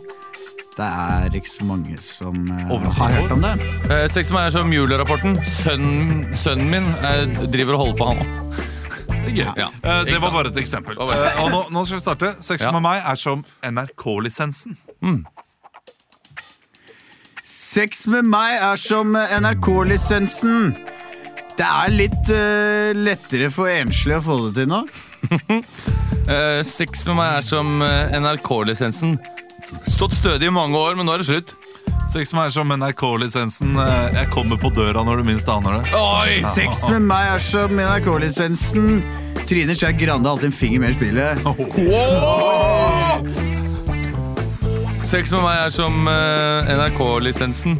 Det er ikke så mange som eh, har Overraskende. hørt om det. Eh, sex med meg er som Mueller-rapporten. Sønnen, sønnen min eh, driver og holder på han. Det, er gøy. Ja. Eh, det Ikke var sant? bare et eksempel. var bare- Eh, og nå, nå skal vi starte. Sex Ja. med meg er som NRK-lisensen. Sex med meg er som NRK-lisensen. Det er litt eh, lettere for enslige å få det til nå. Eh, sex med meg er som eh, NRK-lisensen. Stått stødig i mange år, men nå er det slutt. Sex med meg er som NRK-lisensen. eh, Jeg kommer på døra når du minst aner det. Oi! Sex med meg er som NRK-lisensen. Trine Skei Grande har alltid en finger med i spillet. Sex med meg er som eh, NRK-lisensen.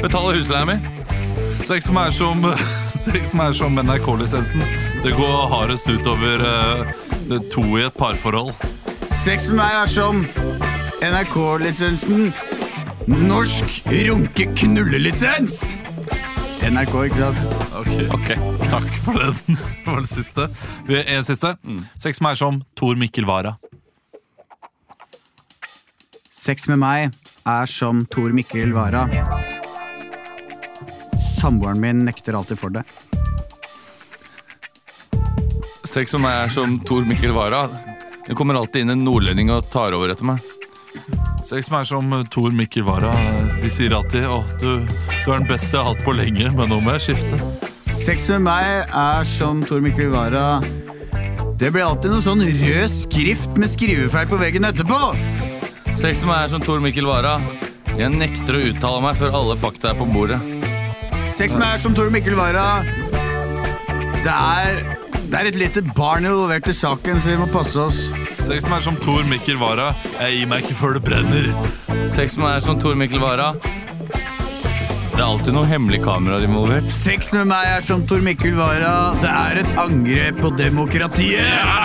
Betaler husleia mi. Sex med meg er som, sex med meg er som NRK-lisensen. Det går hardest utover eh, to i et parforhold. Sex med meg er som NRK-lisensen. Norsk runke-knullelisens! NRK, ikke sant? Ok, Takk for den. Det var den siste. Vi er en siste. Mm. Sex med meg er som Tor Mikkel Wara. Sex med meg er som Tor Mikkel Wara. Samboeren min nekter alltid for det. Sex med meg er som Tor Mikkel Wara. Det kommer alltid inn en nordlending og tar over etter meg. Sex med meg er som Tor Mikkel Wara. De sier alltid å, du, du er den beste jeg har hatt på lenge, men nå må jeg skifte. Sex med meg er som Tor Mikkel Wara. Det blir alltid noe sånn rød skrift med skrivefeil på veggen etterpå! Sex med meg er som Tor Mikkel Wara. Jeg nekter å uttale meg før alle fakta er på bordet. Sex med meg er som Tor Mikkel Wara. Det er, det er et lite barn involvert i saken, så vi må passe oss. Sex med meg er som Tor Mikkel Wara. Jeg gir meg ikke før det brenner. Sex med meg er som Tor Mikkel Wara. Det er alltid noen hemmelige kameraer involvert. Sex med meg er som Tor Mikkel Wara. Det er et angrep på demokratiet! Ja,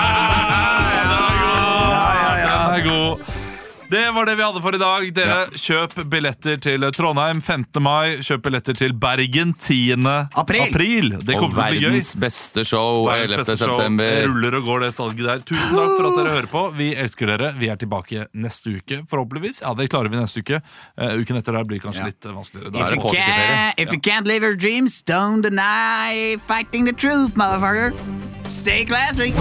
Den er god. Det var det vi hadde for i dag. Dere, kjøp billetter til Trondheim 15. mai. Kjøp billetter til Bergen 10. April. Det kommer til Og å bli gøy. verdens beste show Verdens 11. beste show. Det september. ruller og går, det salget der. Tusen takk for at dere hører på. Vi elsker dere. Vi er tilbake neste uke, forhåpentligvis. Ja, det klarer vi neste uke. Eh, uken etter der blir kanskje litt eh, vanskeligere. Da If er you, det påskeferie. Eh, can't, if you can't live your dreams, don't deny fighting the truth, motherfucker. Stay classy.